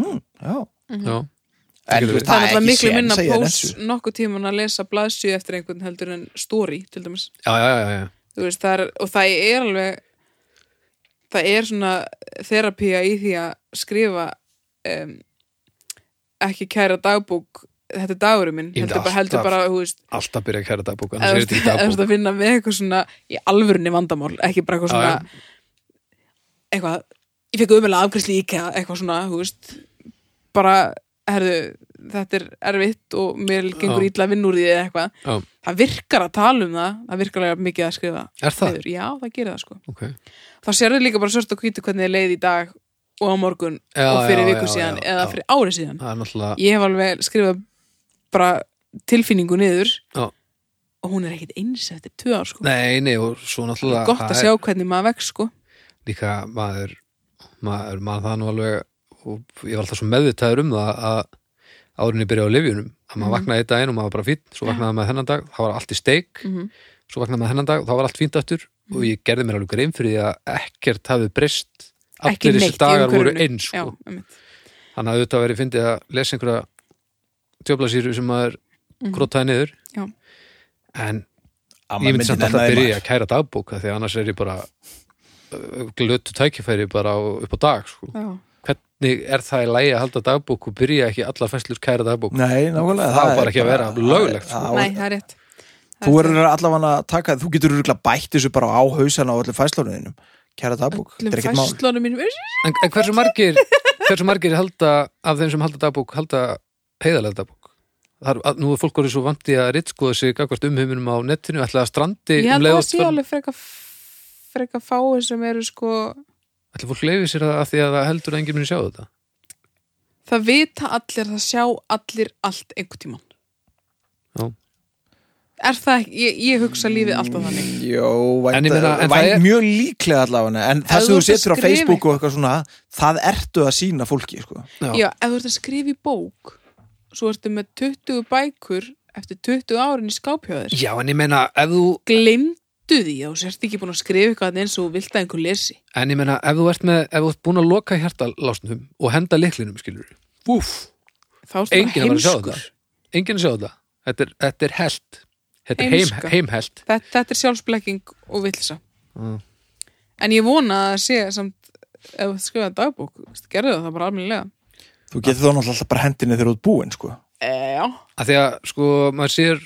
A: hmm, já,
C: Já, Getur
A: en, þú
C: verið.
A: veist,
B: Það er
A: ekki
B: náttúrulega miklu
A: séns
B: minna
A: að ég er
B: pós
A: þessu.
B: nokkuð tíman að lesa blaðsju eftir einhvern heldur en story til dæmis
C: já, já, já, já.
B: Þú veist, það er, og það er alveg það er svona þerapía í því að skrifa um, ekki kæra dagbók þetta er dagurinn minn
C: Ég myndi
B: heldur bara, heldur
C: alltaf-
B: bara, þú veist
C: Alltaf byrja að kæra dagbók annars er
B: eða
C: þetta ekki dagbók.
B: að finna með eitthvað svona í alvörunni vandamál, ekki bara eitthvað
C: Já,
B: svona
C: já.
B: eitthvað, ég fekk umjöla afgriðsli í IKEA, eitthvað svona, þú veist bara, herðu þetta er erfitt og mér gengur
C: Já.
B: ítla vinn úr því eða eitthvað,
C: Já,
B: það virkar að tala um það, það virkar alveg mikið að skrifa
C: Er það?
B: niður. Já, það gerir það sko
C: ok
B: þá sérðu líka bara svört og hvítu hvernig þið leið í dag og á morgun
C: Já,
B: og fyrir
C: já,
B: viku
C: já,
B: síðan
C: já,
B: eða
C: já.
B: fyrir ári síðan
C: Það er náttúrulega
B: ég hef alveg skrifað bara tilfinningu niður
C: Já.
B: og hún er ekkit eins eftir tvö ár sko
C: Nei, nei, og svo náttúrulega
B: gott
C: það
B: að
C: er
B: sjá hvernig maður vex sko
C: Líka maður maður, maður það nú alveg og ég var alltaf svo meðvitaður um það að árinni byrja á lifjunum að
B: Mhm.
C: maður vaknaði í daginn og maður var bara fínt svo vaknaði maður þennan dag, það var allt í steik
B: Mhm.
C: svo vaknaði maður þennan dag og það var allt fínt aftur og ég gerði mér alveg grein fyrir því að ekkert hafi breyst
B: ekki
C: allir þessi
B: neitt
C: dagar
B: í
C: voru
B: umhverfinu.
C: eins sko.
B: já, einmitt.
C: þannig að auðvitað verið fyndið að lesa einhverja djöflasýru sem maður
B: Mhm.
C: grótaði niður
B: Já.
C: en
A: Amma
C: ég myndi samt alltaf
A: nenna
C: að
A: því
C: byrja
A: maður.
C: að kæra dagbóka því að annars er ég bara uh, glötu tækifæri bara á, upp á dag sko.
B: Já.
C: hvernig er það í lægi að halda dagbók og byrja ekki allar fæslur kæra dagbók
A: Nei, nákvæmlega
C: Það á
A: er
C: bara ekki að vera löglegt, sko.
A: það-
B: nei, það er rétt Það
A: Þú
B: er
A: verður allavega að taka, þú getur örugglega bætt þessu bara á hausana á öllum fæslónuðinum Kæra dagbúk, þetta er
B: öllum
A: ekkert mál
B: fæslunum mínum
C: en, en hversu margir, hversu margir halda, af þeim sem halda dagbók halda heiðarlega dagbók Þar, að, nú er fólk orðið svo vanti að ritskoða sig gagvart umheiminum á netinu, ætla að strandi
B: ég
C: um
B: held
C: leið
B: að
C: og
B: það sé
C: tvöl-
B: alveg freka freka fáið sem eru sko
C: ætla fólk leiði sér það af því að það heldur að enginn muni sjá þetta
B: það vita allir, það sjá allir allt einhvern tímann
C: Já.
B: er það ekki, ég, ég hugsa lífið alltaf þannig
A: Jó,
C: En
A: vænt,
C: ég meina, en það
A: vænt
C: er-
A: mjög líklega allavega En
B: Ef
A: það
B: þú
A: sem þú
B: ert að
A: setur á
B: skrifa
A: Facebook og eitthvað svona Það ertu að sína fólki, sko
C: Já.
B: Já, ef þú ert að skrifa í bók svo ertu með 20 bækur eftir 20 árin í skáphjóður
C: Já, en ég meina, ef þú
B: glemdu því að þú sért ekki búin að skrifa eitthvað eins og þú vilt að einhver lesi
C: En ég meina, ef þú ert með, ef þú ert búin að loka hjartalásnum og henda leiklinum, skilur við Úf,
B: þá ertu bara
C: enginn að vera að sjá
B: heimskur
C: þetta Enginn að sjá þetta Þetta er, þetta er held Þetta er heim,
B: Heimska.
C: heimheld
B: þetta, þetta er sjálfsblekking og villisa
C: Mm.
B: en ég vona að sé samt ef þú ert að skrifa dagbók þú veist, gerðu það bara almennilega
A: Þú getur þá náttúrulega alltaf bara hendinni þegar þú ert búinn, sko
B: e,
C: Eh,
B: Já,
C: Af því að, sko, maður sér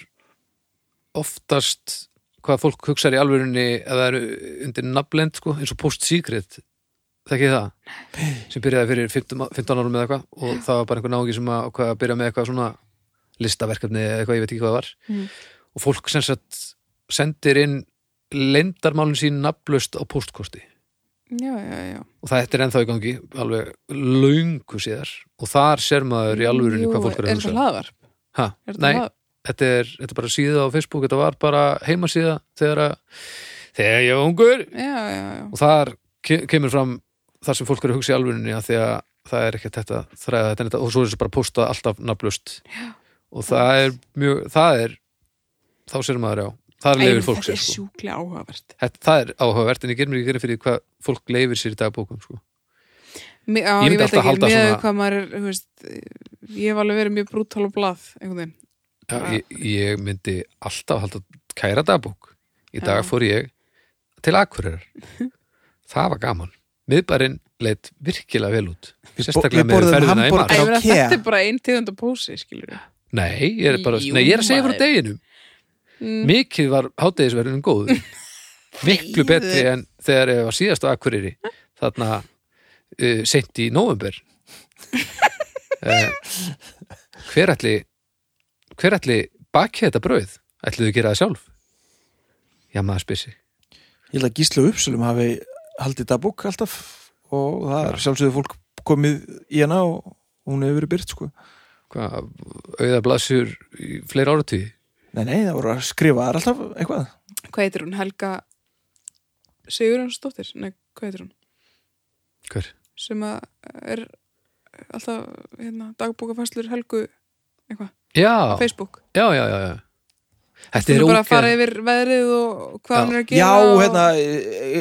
C: oftast hvað fólk hugsar í alvörunni ef það eru undir nafnlend, sko, eins og post-secret Þekki það? Sem byrjaði fyrir 15, á- 15 árum með eitthvað og það var bara einhver náungi sem að, hvað, að byrja með eitthvað svona listaverkefni eða eitthvað, ég veit ekki hvað það var
B: Mm.
C: og fólk sem sagt sendir inn leyndarmálin sín nafnlaust á postkosti
B: já, já, já.
C: og það þetta er ennþá í gangi alveg löngu síðar og þar sér maður í alvörunni
B: Jú,
C: hvað fólk er að
B: Er
C: hugsa
B: það hlaðvarp?
C: ha,
B: Er þetta
C: nei,
B: hlaðvarp?
C: þetta er, þetta er bara síða á Facebook þetta var bara heimasíða þegar, að, þegar ég var ungur
B: Já, já, já
C: og þar ke kemur fram þar sem fólk eru að hugsa í alvörunni að því að það er ekkert þetta þræða þetta, en þetta og svo er þessu bara að posta alltaf nafnlust og það er mjög, það er þá sér maður á, þar
B: Æ,
C: leifir fólk
B: Þetta
C: sér
B: er
C: sko.
B: sjúklega áhugavert
C: þetta, það er áhugavert en ég ger mér ekki grein fyrir því hvað fólk leifir sér í dagbókum sko.
B: Mi- Já,
C: Ég
B: ég,
C: myndi
B: veit
C: alltaf
B: ekki,
C: halda
B: með
C: svona-
B: hvað maður er, þú veist, ég hef alveg verið mjög brútal og blað, einhvern veginn.
C: Já,
B: Já.
C: ég, ég myndi alltaf halda kæra dagbók í dag
B: Já.
C: fór ég til
B: <laughs>
C: Akureyrar það var gaman miðbærin leitt virkilega vel út sérstaklega
A: ég
C: með
A: borðaði
C: ferðina í
A: hamborgara.
B: Æ,
C: mark
A: Frá
B: ég meina,
A: Kea.
B: þetta er bara einn tegund að pósi, skilur við.
C: nei, ég er bara
B: Jú,
C: nei, ég er að segja frá
B: maður.
C: deginum
B: Mm,
C: mikið var hátegisverðunum góð
B: <laughs>
C: miklu
B: Þegiðu.
C: betri en þegar ég var síðast á Akureyri þarna uh, sent í
B: <laughs>
C: november uh, hver ætli hver ætli baki þetta brauð ætliðu að gera það sjálf já maður spyr sig
A: Ég held að Gísli og Uppsölum hafi haldið dagbúk alltaf og það er sjálfsögðu fólk komið í hana og hún hefur verið byrt, sko
C: hvað, auða blasur í fleira áratví
A: Nei, nei, það voru að skrifa það er alltaf eitthvað
B: hvað heitir hún, Helga Sigurjónsdóttir, nei, hvað heitir hún
C: Hver?
B: sem að er alltaf hérna, dagbókafæslur Helgu eitthvað,
C: Já,
B: Facebook
C: já, já, já, já. Þetta
B: hún
C: er
B: er bara að
C: ógeð-
B: fara yfir veðrið og hvað
C: Já.
B: hún er að
A: Já,
B: gera og
A: hérna,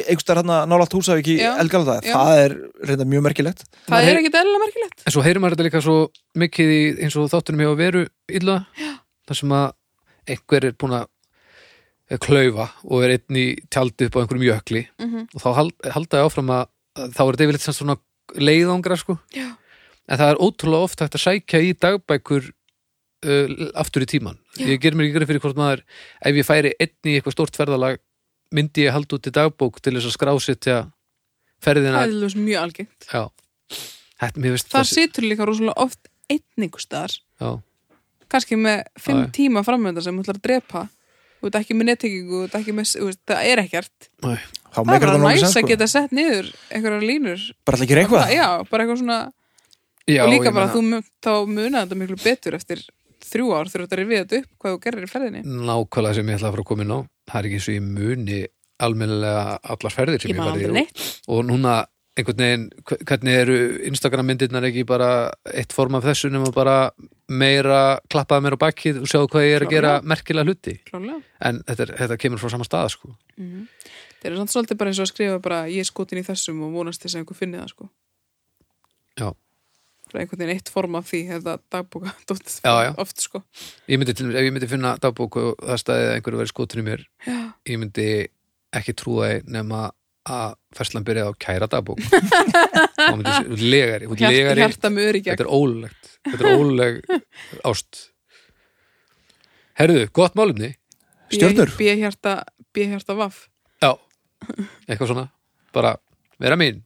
A: einhverstaðar hérna nálaft húsavík í
B: Já,
A: Elgalanda
B: já.
A: Það er reynda mjög merkilegt
B: það er ekkit eðlilega merkilegt
C: En svo heyrir maður þetta líka svo mikið í, eins og þáttunum hjá veru illa þar sem að einhver er búin að eh, klaufa og er einn í tjaldi upp á einhverjum jökli
B: mm -hmm.
C: og þá hald- halda ég áfram að að þá er þetta yfirleitt sem svona leiðangra sko
B: Já.
C: en það er ótrúlega oft hægt að sækja í dagbækur uh, aftur í tíman
B: Já.
C: ég ger mér ekki greið fyrir hvort maður ef ég færi einn í eitthvað stórt ferðalag myndi ég halda út í dagbók til þess að skrásetja
B: það
C: ferðina
B: er alveg mjög algengt
C: Já. Þetta, mér finnst
B: það
C: þessi-
B: situr líka rosalega oft einningustaðar
C: Já.
B: kannski með
C: Já,
B: fimm
C: já.
B: tíma framönda sem hún ætlar að drepa þú veit ekki með nettingingu, þú veit ekki með þú veist, það er ekkert,
C: Æ.
A: Þá
B: það er
A: meikar
B: bara
A: það nú
B: næs
A: ekki
B: að
A: sem sko
B: geta sett niður einhverjar línur
A: Bara allir gerir eitthvað
B: já, bara eitthvað svona
C: Já,
B: og líka
C: ég
B: bara
C: meina-
B: þú mun- þá munaði þetta miklu betur eftir þrjú ár þegar þetta er við þetta upp hvað þú gerir í ferðinni
C: Mm, nákvæmlega sem ég ætla að fara að koma inn á það er ekki eins og ég muni almennilega allar ferðir sem ég,
B: ég man aldrei
C: verði í.
B: neitt
C: og núna einhvern veginn hve- hvernig eru Instagram myndirnar ekki bara eitt form af þessu nema bara meira klappaða mér á bakið og sjá hvað ég er að gera merkilega hluti
B: klálega
C: en þetta, er, þetta kemur frá sama stað sko.
B: Mhm. þeir eru samt svolítið bara eins og að skrifa bara ég er skotin í þessum og vonast þess að einhver finni það sko
C: Já.
B: bara einhvern veginn eitt form af því hefða <laughs> dagbúka
C: Já, já.
B: oft sko
C: ég myndi til, ef ég myndi finna dagbók og það staðið að einhverju verið skotinu mér ég myndi ekki trúa því nema að ferslan byrjaði á kæra
B: <laughs>
C: dagbók þá myndi ég legari, þú ert
B: Hjart,
C: legari
B: hjarta með öryggja
C: Þetta er ólegt, þetta
B: <laughs>
C: er óleg ást Herðu, gott málumni
A: Stjörnur?
B: B-hjarta, B-hjarta vaff
C: Já, eitthvað svona Bara, vera mín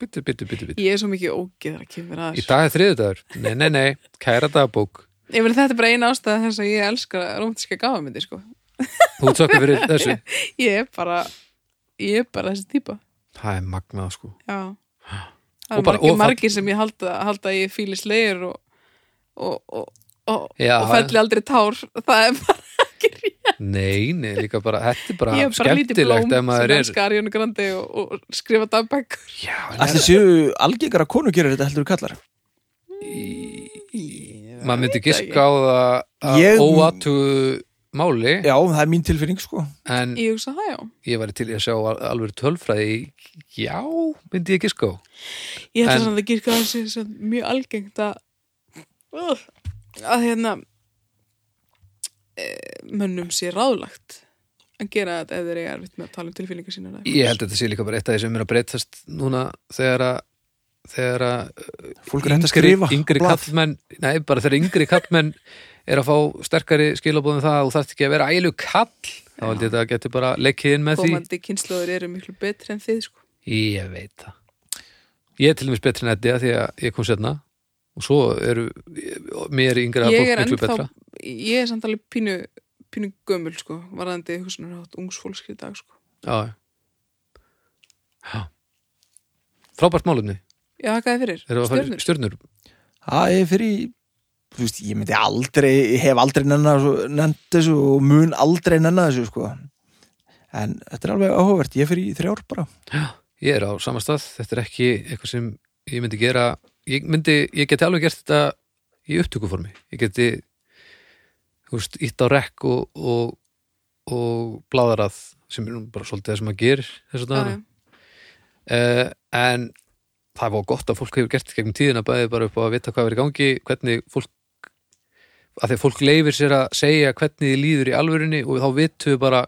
C: Bittu, bittu, bittu, bittu
B: ég er svo mikið ógeð þegar kemur að
C: Í
B: þessu
C: dag er þriðudagur, nei, nei, nei Kæra dagbók,
B: ég verið þetta er bara eina ástæða þess að ég elska romantíska gafamindi sko
C: þú tókir fyrir
B: <laughs>
C: þessu
B: ég er bara ég er bara þessi típa
C: Það er magnað sko
B: Já.
C: Og
B: Það
C: bara
B: eru margir,
C: ofall-
B: margir sem ég halda, halda að ég fíli slegir og, og, og, og,
C: Já.
B: og felli aldrei tár. Það er bara,
C: Nei, nei, líka bara, þetta er bara,
B: ég er bara lítið blóm
C: skemmtilegt ef
B: sem
C: maður er
B: elskar Jónu Grandi og, og skrifa dagbækur.
C: Já, en
A: Allir séu algengara konu gerir þetta heldur við kallar
C: maður myndi giska á það
A: Ég-
C: að óatu máli
A: Já, það er mín tilfinning sko
C: en
B: Ég hugsa það, já.
C: ég væri til í að sjá al- alveg tölfræði í- já, myndi ég giska á
B: Ég
C: En-
B: held að það girka að sé sem mjög algengt að, Ugh, að hérna e, mönnum sé ráðlagt að gera þetta ef þeir eru erfitt með að tala um tilfýlingar sína.
C: ég held að þetta sé líka bara eitt af því sem er að breytast núna þegar að þegar að
A: Fólk er hægt að
C: yngri,
A: skrifa
C: yngri
A: blað.
C: kallmenn nei, bara þegar yngri kallmenn er að fá sterkari skilabóðum það og þarf ekki að vera ælu kall þá held ég þetta getur bara leikið inn með því
B: Komandi kynnslóður eru miklu betri en þið, sko.
C: ég veit það ég er til dæmis betri en Eddi að því að ég kom setna og svo eru mér yngra
B: ég
C: fólk
B: er
C: miklu
B: ennþá
C: betra
B: ég er samt alveg pínu, pínu gömul sko, varðandi hugsunarhátt ungs fólks í dag sko.
C: Já, já. já. Frábært málumni
B: ég hakaði fyrir,
C: Erum við að fara í
B: stjörnur
C: Stjörnur
A: Það er fyrir í- Þú veist, ég myndi aldrei Ég hef aldrei nenna nennt þessu og mun aldrei nenna þessu sko En þetta er alveg áhugavert Ég fyrir í þrjár bara
C: Ég er á sama stað, þetta er ekki eitthvað sem ég myndi gera Ég, myndi, ég geti alveg gert þetta í upptökuformi Ég geti þú veist, ítt á rekk og, og, og bláðarað sem er nú bara svolítið það sem maður gerir þess að
B: Já, já.
C: dagana uh, En það var gott að fólk hefur gert gegnum tíðina bæði bara upp á að vita hvað er í gangi hvernig fólk að þegar fólk leifir sér að segja hvernig þið líður í alvörunni og þá vitum við bara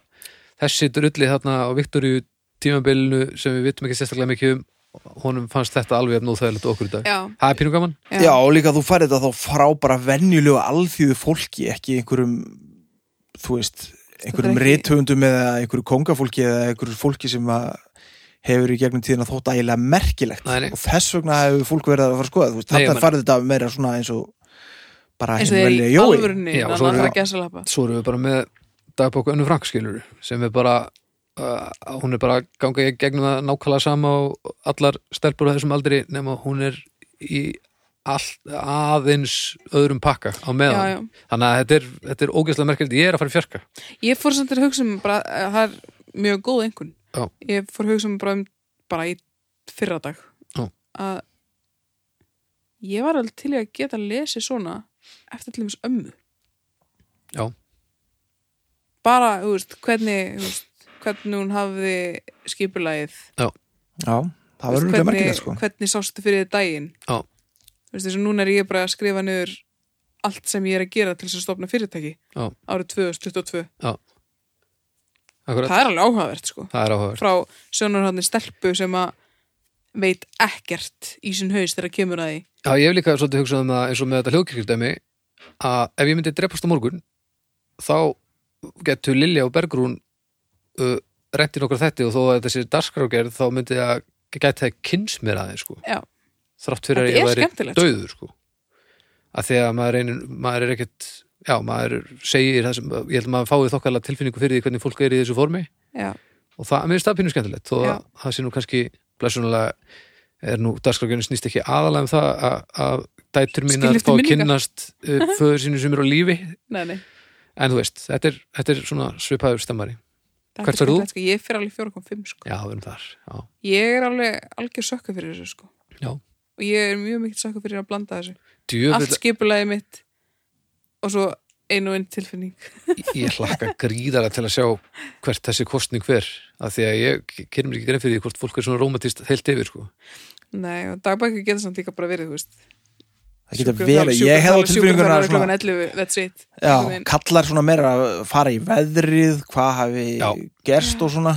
C: þessi drulli þarna á Viktoríu tímabilinu sem við vitum ekki sérstaklega mikið um honum fannst þetta alveg efn óþægilegt og okkur í dag
B: já,
C: Það er pínu gaman?
B: já.
A: Já, og líka þú færið þetta þá frá bara venjulegu alþýðu fólki, ekki einhverjum þú veist, einhverjum
B: ekki-
A: rithöfundum eða einhverju kongafólki eða einhverju fólki sem að hefur í gegnum tíðina þótt ægilega merkilegt
C: Nei, nei.
A: og þess vegna hefur fólk verið að fara að skoða þú veist,
C: Nei, ég
A: þarna
C: meina-
A: er farið þetta meira svona eins og bara
B: eins og þeir
A: velja
B: í
A: Jói
B: alvörunni
C: Já,
B: þannig
C: svo
B: að
C: eru-
B: það er ekki að salapa
C: Svo erum við bara með dagbóku önnu frankskilur sem er bara uh, hún er bara að ganga í gegnum það nákvæmlega sama og allar stelpur á þessum aldri nema hún er í all, aðeins öðrum pakka á meðan
B: Já, já.
C: þannig að þetta er, þetta er ógeðslega merkilegt ég er að fara í fjarka
B: Ég fór samt að hugsa um bara, að það er mjög góð einhvern.
C: Já.
B: Ég fór að hugsa um bara, um bara í fyrradag
C: Já.
B: að ég var alveg til í að geta lesið svona eftir til þess ömmu.
C: Já.
B: Bara, þú veist, hvernig, þú veist, hvernig hún hafði skipulagið.
A: já, það verður
B: Þú
A: auðvitað
B: veist,
A: merkilegt sko
B: Hvernig sástu fyrir þér daginn?
C: Já.
B: Þú veist, þess að núna er ég bara að skrifa niður allt sem ég er að gera til þess að stofna fyrirtæki
C: Já.
B: árið 2022.
C: Akkurat,
B: Það er alveg áhugavert, sko.
C: það er áhugavert
B: Frá sjónarhóðni stelpu sem að veit ekkert í sinn haus þegar kemur að því.
C: Já, ég hef líka svolítið hugsað um það eins og með þetta hljóðkirkildæmi að ef ég myndi drepast á morgun þá getur Lilja og Bergrún uh, reynt í nokkra þetti og þó að þessi darskrágerð þá myndi að gæti það kynns mér aðeins sko.
B: Já.
C: þrátt fyrir
B: Þetta
C: að
B: er
C: ég væri
B: skemmtilegt, sko.
C: döður sko. að því að maður, einin, maður er ekkert já, maður segir það sem ég held að maður fáið þokkala tilfinningu fyrir því hvernig fólk er í þessu formi
B: Já,
C: og það mér finnst það pínu skemmtilegt þó
B: Já.
C: að það sé nú kannski blessunulega er nú dagskrákjörnum snýst ekki aðalega um það að- að dætur mín að fá
B: Skilja eftir
C: að
B: minningar.
C: kynnast
B: <laughs>
C: uh, föður sínu sem eru á lífi
B: nei, nei.
C: en þú veist, þetta er, þetta er svona svipaður stemmari
B: Þetta
C: Hvert
B: er
C: ferð þú?
B: skemmtilegt, Sko. Ég fyrir alveg 4.5, sko.
C: já, við erum þar já.
B: Ég er alveg algjör sökka fyrir þessu, sko.
C: Já.
B: Og ég er mjög mikill sökka fyrir að blanda þessu. Allt
C: Djöfull,
B: skipulagið mitt og svo ein og ein tilfinning.
C: ég hlakka gríðarlega til að sjá hvert þessi kostning fer af því að ég kynna mér ekki grein fyrir því hvort fólk er svona rómatist heilt yfir sko.
B: Nei, og dagbækur geta samt líka bara verið, þú veist
A: það getur vel, ég hefði á tilbyrjunguna
B: Sjúkraþjálfari klokkan 11, that's it
A: já,
B: Einhvern veginn.
A: kallar svona meira að fara í veðrið hvað hafi
C: Já.
A: gerst og svona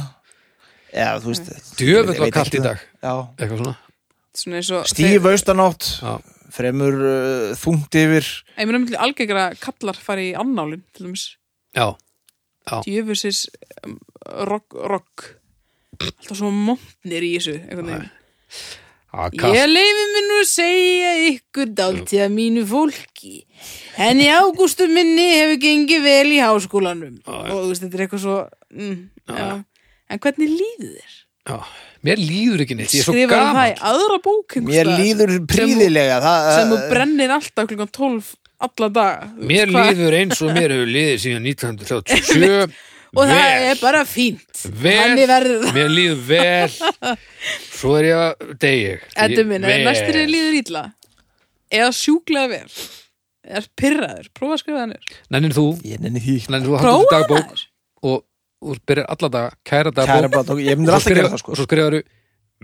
A: já, þú
B: Mm.
A: veist ég
C: djöfull
A: veit
C: var
A: ekki
C: kallt í
A: það.
C: dag
A: já,
C: eitthvað svona
B: Svona eins og
A: stíf austanátt
C: Já.
A: fremur uh, þungt yfir
B: þeir- Ég meina myndi algengra kallar fari í annálin til dæmis,
C: já,
B: djöfusis um, rock, rock Alltaf svo montnir í þessu einhvern veginn.
C: að
B: Ég leifi mér nú að segja ykkur dálítið að mínu fólki en í ágústu minni hefur gengið vel í háskólanum
C: Já, já.
B: og þú veist, þetta er eitthvað svo mm,
C: Já,
B: já. En hvernig líður þér?
C: já. mér líður ekki neitt, ég er svo
B: skrifaði um
C: gaman
B: það í aðra bók einhvers
A: mér
B: staðar,
A: líður príðilega það, uh,
B: sem þú brennir alltaf klukkan 12 alla daga Þú
C: uh, Mér
B: veist hvað?
C: líður eins og mér hefur liðið síðan 1937
B: og það
C: vel,
B: er bara fínt
C: vel,
B: Þannig verður það
C: mér líður vel svo er ég að degi
B: Eddu minn, ef næstur er líður ítla eða sjúklega vel eða pirraður, prófa að skrifa það niður
C: Nennir þú,
A: ég nenni því ekki.
C: nennir þú að hafa
B: prófa það
C: dagbók
B: niður
C: og, og byrjar alla daga, kæra
A: Kæra
C: dagbók
A: bara, ég
C: og
A: myndir
C: svo
A: alltaf gera
C: skrifar-
A: það sko
C: og svo skrifar þú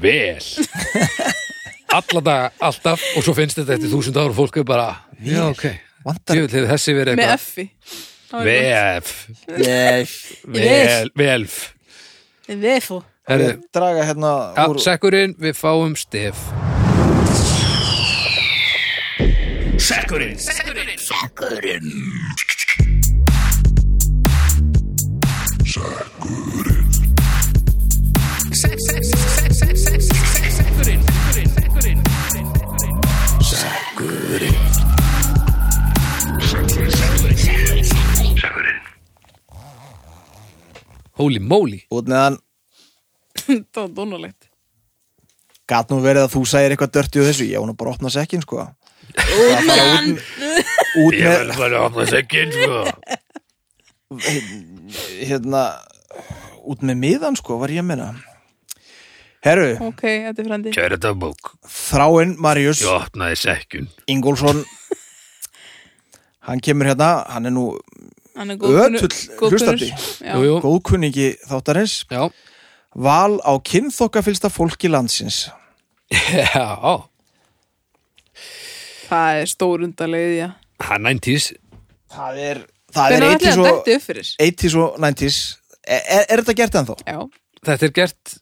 C: vel
A: <laughs>
C: alla daga, alltaf og svo finnst þetta eftir þúsund ára og fólk er bara já, ok,
A: vantar
C: djöfull hefur þessi verið
B: með
C: eitthvað
B: effi
C: vef,
A: ég
C: vel, velf
B: Vefu
C: Herðu,
A: draga hérna
C: ja,
A: úr
C: sekkurinn, við fáum stef Holy moly
A: út meðan
B: <laughs> Það var dónulegt
A: gat nú verið að þú sæðir eitthvað dörti og þessu ég á hún að bara opna sekkin sko
B: Út með hann
A: út með
C: bara að opna sekkin sko
A: hérna út með miðan sko var ég að meina herru
B: Ok, þetta er frendi
C: Kæra dagbók,
A: Þráinn Marius
C: opnaði sekkun
A: Ingólfsson hann kemur hérna, hann er nú
B: Hann er
A: ötull hlustandi
C: Jú, jú,
A: góðkunningi þáttarins
C: já
A: val á kynþokkafylsta fólki landsins
C: Já,
B: Það er stórundarlegið, já
C: hann næntís
A: það er, það er
B: Hvernig
A: 80s
B: ætlaði hann
A: og,
B: dætti upp fyrir?
A: 80s og 90s er, er, er þetta gert ennþá?
B: Já,
C: Þetta er gert,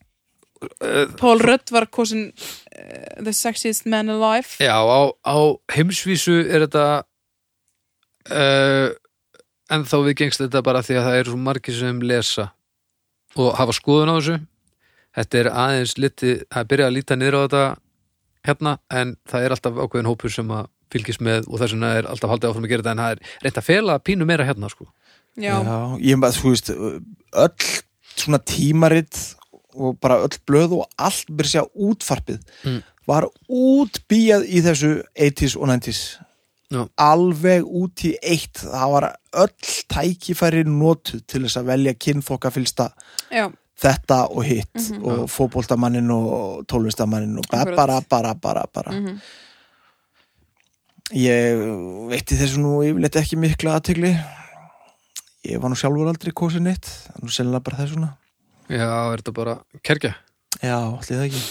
B: Paul Rudd var kosin uh, The Sexiest Man Alive
C: já, á, á heimsvísu er þetta uh, en þá við gengst þetta bara því að það eru svo margir sem lesa og hafa skoðun á þessu Þetta er aðeins liti, það er byrjað að líta niður á þetta hérna en það er alltaf ákveðin hópur sem að fylgist með og þess vegna er alltaf haldið áfram að gera þetta en það er reynt að fela pínu meira hérna sko
B: Já,
A: ég bara, þú veist, öll svona tímarit og bara öll blöð og allt byrja að segja útfarpið
C: Mm.
A: var útbíjað í þessu 80s og 90s
C: Já.
A: alveg út í eitt það var öll tækifæri notuð til þess að velja kynþokkafylsta
B: já,
A: þetta og hitt
B: Mhm.
A: og fótboltamannin og tólvestamannin og bara,
B: Akkurat.
A: bara, bara, bara, bara. ég veitti þessu nú yfirleitt ekki mikla aðtegli ég var nú sjálfur aldrei kosin eitt það er nú sennilega bara þessuna
C: Já, er þetta bara kerkja?
A: já, allir það ekki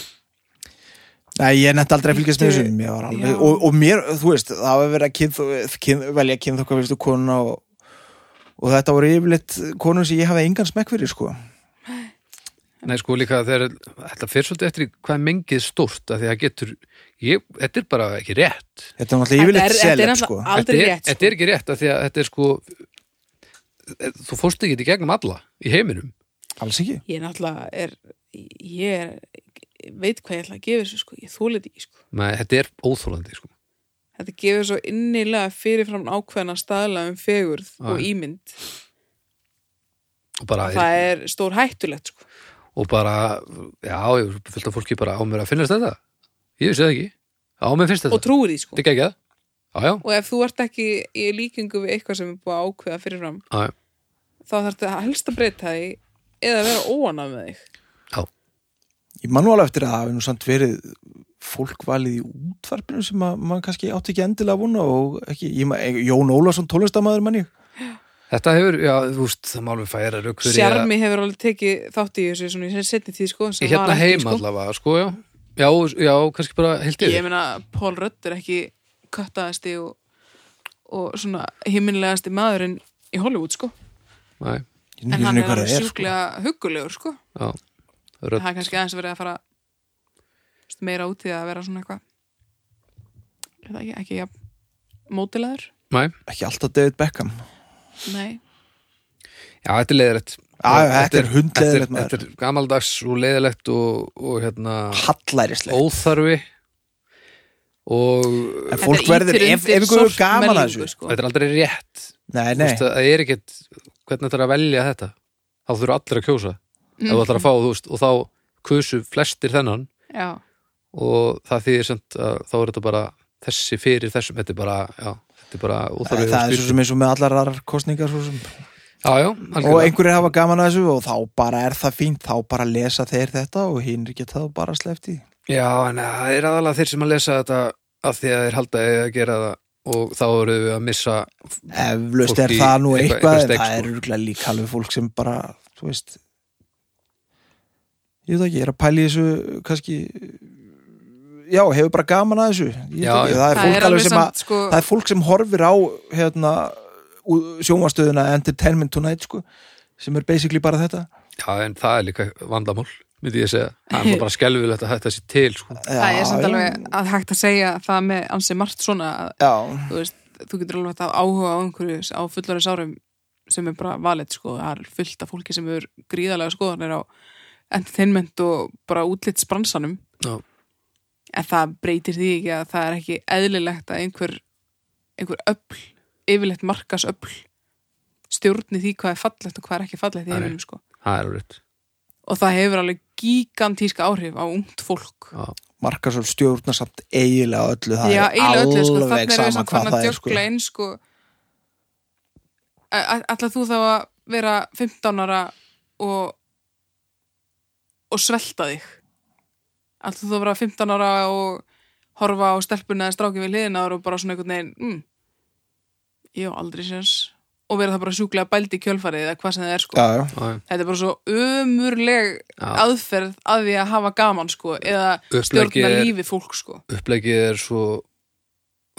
A: Nei, ég nefndi aldrei að fylgjast með
B: Bíddu,
A: þessum Ég var alveg,
B: já.
A: og, og mér, þú veist, það var verið að kynþ, kynþ, velja kynþokkafylstu kona og, og þetta voru yfirleitt konur sem ég hafði engan smekk fyrir, sko
C: Nei, sko líka þegar þetta fyrir svolítið eftir í hvað er mengið stórt að því að getur, ég, þetta er bara ekki rétt
A: Þetta er náttúrulega yfirleitt
B: Þetta er- þetta er
A: seleb,
B: náttúrulega
A: sko
B: Aldrei
C: þetta er,
B: rétt, sko.
C: Þetta er ekki rétt að því að þetta er sko þú fórst ekki í gegnum alla í heiminum
A: Alls ekki
B: ég náttúrulega er ég er, veit hvað ég ætla að gefa þessu sko, ég þólið ekki sko
C: Nei, þetta er óþólandi sko
B: þetta gefur svo innilega fyrirfram ákveðna staðla um fegurð og ímynd
C: og bara,
B: það er stór hættulegt sko.
C: og bara já, ég er fullt af fólki bara á mér að finnast þetta ég vissi það ekki, á mér finnst
B: og
C: þetta
B: trúir því sko.
C: þetta er ekki það, já, já,
B: og ef þú ert ekki í líkingu við eitthvað sem er búið að ákveða fyrirfram
C: já, já.
B: þá þarftu að helst að breyta því eða vera óanað með þig
C: já.
A: Ég man nú alveg eftir að það hafi nú samt verið fólk valið í útvarpinu sem að mann kannski átti ekki endilega að vona og ekki, ég, ma- eh, Jón Ólafsson tólestamæður manni
C: þetta hefur, já, þú veist, það má alveg færa rauk fyrir að-
B: Sjarmi hefur alveg tekið þátt í þessu svona í setni tíð sko sem var
C: hérna
B: ekki,
C: heima
B: sko.
C: allavega, sko, já já, já, kannski bara heilt
B: Ég
C: yfir
B: meina Pól Rödd er ekki köttaðasti og, og svona himminlegasti maðurinn í Hollywood sko
C: Nei,
A: Ég
B: en
A: veit
B: hann
A: ekki
B: er
A: hvað
B: alveg
A: það er sko.
B: sjúklega huggulegur sko
C: já,
B: það
C: rödd
B: er kannski aðeins verið að fara þú veist, meira út í að vera svona eitthvað ég veit ekki, ekki ja, mótilegur
C: Nei,
A: Ekki alltaf David Beckham
B: nei,
C: já, þetta er leiðilegt
A: Já, já, þetta er hundleiðilegt,
C: þetta,
A: maður.
C: er- þetta er gamaldags og leiðilegt og, og hérna
A: Hallærislega
C: óþarfi og
A: En fólk
B: Þetta
A: verður,
B: ýtir
A: ef,
B: undir
A: ef ykkur er
B: sorpmenningu,
A: gaman að þessu
B: sko.
C: þetta er aldrei rétt
A: Nei,
C: Þú
A: nei,
C: veist, það er ekkert, hvernig þetta er að velja þetta þá þurfa allir að kjósa ef þú ætlar að fá, þú veist, og þá kusu flestir þennan
B: já,
C: og það þýðir semt að þá er þetta bara þessi fyrir þessum, þetta er bara já, þetta er bara
A: það,
C: óþarfi
A: er svo sem eins og með allar aðrar kostningar svo sem
C: Já, já,
A: og
C: algjörlega
A: einhverjir hafa gaman að þessu og þá bara er það fínt, þá bara lesa þeir þetta og hinn er ekki það og bara slefti
C: Já, en það er aðalega þeir sem að lesa þetta að því að þeir halda eigi að gera það og þá eru við að missa
A: Eflaust
C: Fólk
A: er
C: í
A: það nú
C: eitthvað-
A: eitthvað,
C: eitthvað
A: en
C: steg,
A: það
C: sko.
A: er örugglega líka alveg fólk sem bara, þú veist ég veit ekki, ég er að pæla í þessu kannski já, hefur bara gaman að þessu Ég veit
C: Já, já.
A: ekki, það er
B: það
A: fólk alveg
B: er alveg
A: sem að
B: samt sko
A: það er fólk sem horfir á hérna, sjónvastöðuna Entertainment Tonight sko, sem er basically bara þetta
C: Já, en það er líka vandamál myndi ég segja, það er náttúrulega bara skelfilegt að þetta sé til, sko
B: það er samt
A: já,
B: alveg að hægt að segja það með ansi margt svona að
A: já,
B: þú veist, þú getur alveg að áhuga á einhverju á fullari sárum sem er bara valið sko, það er fullt af fólki sem er gríðalega skoðanir á entertainment og bara útlitsbransanum
C: Já,
B: en það breytir því ekki að það er ekki eðlilegt að einhver einhver öll, yfirleitt markas öll stjórni því hvað er fallegt og hvað er ekki fallegt í
C: Nei.
B: heiminum sko.
C: það er rétt
B: og það hefur alveg gigantíska áhrif á ungt fólk
C: Já,
A: markar svo stjórna samt eiginlega öllu það
B: Já,
A: er
B: eiginlega öllu, sko,
A: alveg
B: þannig er við
A: sama
B: samt
A: hvað
B: fann að
A: það er sko.
B: djökla inn, sko Ætla þú þá að vera 15 ára og og svelta þig Ætla þú þá að vera 15 ára og horfa á stelpuna eða stráki við hliðina á þér og bara svona einhvern veginn mm, Ég á aldrei séns og vera það bara sjúklega bælt í kjölfarið eða hvað sem það er, sko
A: já, já,
C: já, já.
B: Þetta er bara svo umurleg
C: Já.
B: aðferð að því að hafa gaman, sko eða
C: Uppleggið
B: stjórna
C: er-
B: lífi fólk, sko
C: Upplegið er svo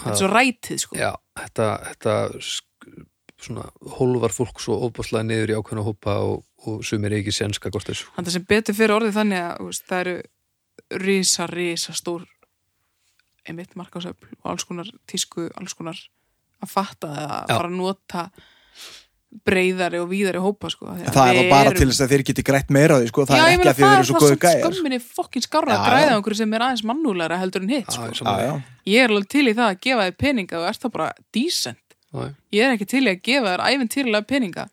B: Þetta er svo rætið, sko
C: Já, þetta, þetta sk- svona hólvar fólk svo óbáslega niður í ákveðna hópa og, og sumir ekki senska gott þessu
B: Þannig sem betur fyrir orðið þannig að þú veist, það eru risa, risa stór einmitt markasöfl og alls konar tísku, alls konar að fatta það að
C: Já.
B: fara að nota breyðari og víðari hópa sko. Þegar
A: það er
B: við
A: þá bara
B: erum-
A: til þess að þeir geti grætt meira á því sko. það
B: Já,
A: er
B: ég
A: ekki
B: meina,
A: að þið
B: það
A: eru
B: er
A: svo
B: það
A: góðu
B: samt
A: gæðir sko.
B: skömminni fokkin skarra
A: Já,
B: að
A: já.
B: græða okkur sem er aðeins mannúlega heldur en hitt sko.
A: já, já.
B: Ég er alveg til í það að gefa þér peninga og ert það bara decent. Ég er ekki til í að gefa þér æfintýrlega peninga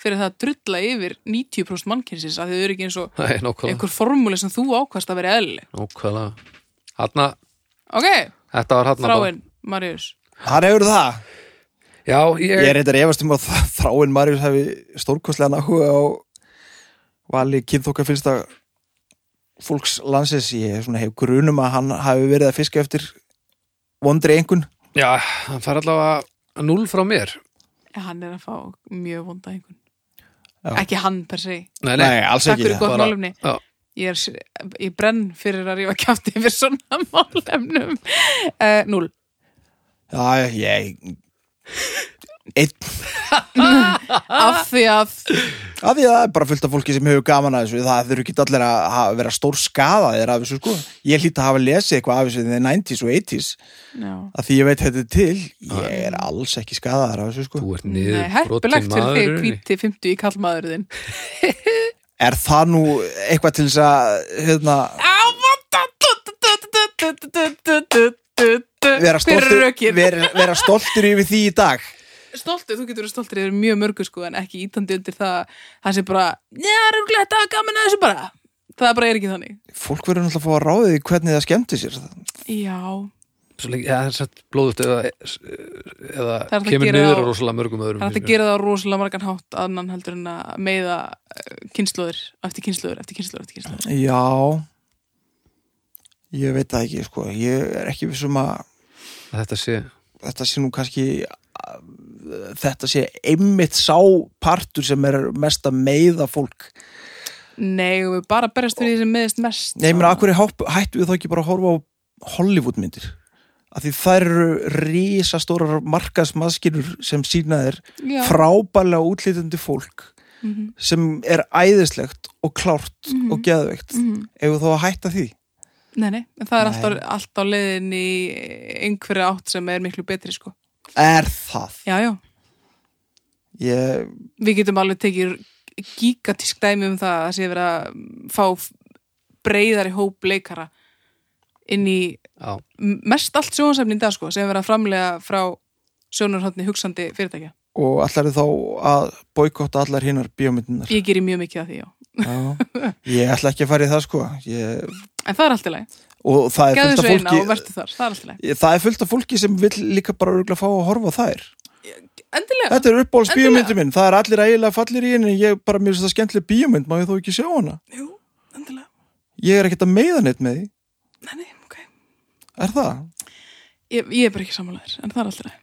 B: fyrir það að drulla yfir 90% mannkynsins að þið eru ekki eins og
C: Nákvæmlega
B: einhver formúli sem þú ákvast að vera eðli
C: Nákvæmlega Hanna,
B: Ok,
C: þetta var hanna
B: þráinn, Marius
A: Hann hefur það
C: Já,
A: Ég er
C: ég,
A: reyndar efast um að þ- þráinn Marius hefði stórkostlega náhuga á vali kynþóka finnst að fólks landsins ég svona hef grunum að hann hafi verið að fiska eftir vondri engun
C: já, hann fær allavega null frá mér
B: Hann er að fá mjög vonda einhvern
A: Já.
B: Ekki hann per se
C: Nei, nei,
A: Nei, alls
B: Takk
A: ekki
B: fyrir
A: það.
B: gott
C: Bara-
B: málumni
C: já.
B: ég, er, s- ég brenn fyrir að rífa kjátti fyrir svona <laughs> málefnum uh, Núl
A: Já, ég Einn,
B: Af því að
A: af því að það er bara fullt af fólki sem hefur gaman að þessu það þurfi ekki allir að hafa- vera stór skaða þeir af þessu sko Ég hlýt að hafa lesið eitthvað af þessu þegar 90s og 80s
B: Já
A: að því ég veit þetta er til ég er alls ekki skaðaðar af þessu sko
C: þú ert
B: Nei,
C: niður
B: herpilegt fyrir þig
C: maður
B: kvíti 50 í kallmaðurðin
A: Er það nú eitthvað til þess að hérna, vera,
B: Hver er
A: stoltur,
B: rökin?
A: vera, vera stoltur yfir því í dag
B: Stoltið, þú getur verið stoltið yfir mjög mörgu sko en ekki ítandi undir það það sem bara, njá, rúglega, þetta var gaman að þessu bara það bara er ekki þannig
A: Fólk verður náttúrulega að fá að ráðið því hvernig það skemmti sér
B: Já,
C: Svo lengi, ja, satt blóðut eða, eða
B: Það er hægt að
C: kemur
B: gera
C: niður
B: á-
C: á rosalega mörgum öðrum
B: Það er hægt að
C: finnst mér.
B: gera það á rosalega margan hátt annan heldur en að meiða kynnslóður eftir kynnslóður, eftir kynnslóður, eftir kynnslóður.
A: Já Ég veit það ekki sko Ég er ekki vissum að
C: Að Þetta sé
A: þetta sé nú kannski uh, þetta sé einmitt sá partur sem er mest að meiða fólk
B: Nei, og við bara berjast fyrir því sem meðist mest. sko.
A: Nei, menn, akkur hættu við þá ekki bara að horfa á Hollywoodmyndir af því þær eru risastórar markasmaðskinur sem sína þér
B: Já.
A: frábælega útlítandi fólk
B: Mhm.
A: sem er æðislegt og klárt og geðveikt
B: Mhm.
A: ef við þá að hætta því
B: Nei, nei, en það er
A: Nei.
B: alltaf, alltaf leiðin í einhverja átt sem er miklu betri, sko.
A: er það
B: Já, já.
A: ég,
B: Við getum alveg tekið gigantísk dæmi um það að það sé verið að fá breyðari hóp leikara inn í
C: á,
B: mest allt sjónsefni í dag, sko, sem verið að framlega frá sjónarhóttni hugsandi fyrirtækja.
A: og allar þá að boykotta allar hinnar bíómyndunar
B: Ég gerir mjög mikið af því, já.
A: Já. ég ætla ekki að fara í það sko ég,
B: En það er allt í lagi.
A: og það er
B: Gæðu
A: fullt af
B: svo eina
A: fólki
B: og verður þar, það er allt í lagi.
A: það er fullt af fólki sem vill líka bara örgulega fá að horfa á þær
B: Endilega,
A: þetta er uppáhalds
B: Endilega.
A: bíómyndu minn, það er allir ægilega fallir í henni ég bara mér finnst það skemmtileg bíómynd, má ég þó ekki sjá hana
B: jú, endilega.
A: ég er ekkert að meiða neitt með því,
B: Nei, nei, ok.
A: er það?
B: Ég, ég er bara ekki samanlegaður, en það er allt í lagi.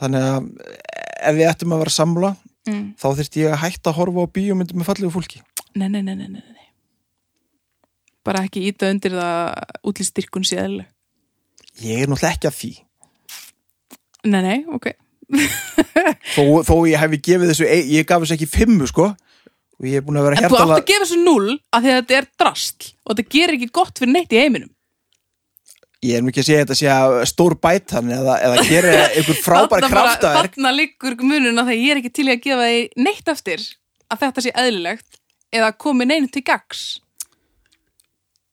A: þannig að eh, ef við ættum að vera samla
B: Mm.
A: þá þyrst ég að hætta að horfa á bíómyndu með fallegu fólki
B: Nei, nei, nei, nei, nei, nei. Bara ekki íta undir það útlýstyrkun sé eðlileg.
A: ég er náttúrulega ekki að því
B: Nei, nei, ok.
A: þó, þó ég hefði gefið þessu ei- ég gaf þessu ekki fimmu sko og ég er búin að vera
B: En þú átt
A: hjartala
B: að gefa þessu null af því að þetta er drastl og þetta gerir ekki gott fyrir neitt í heiminum.
A: ég er nú ekki að segja þetta sé að stór bætan eða, eða
B: <laughs>
A: gera einhver frábæra
B: Þarna bara-
A: kraftaverk
B: Þarna liggur munun að það ég er ekki til í að gefa því neitt eftir að þetta sé eðlilegt eða komi neinu til gags.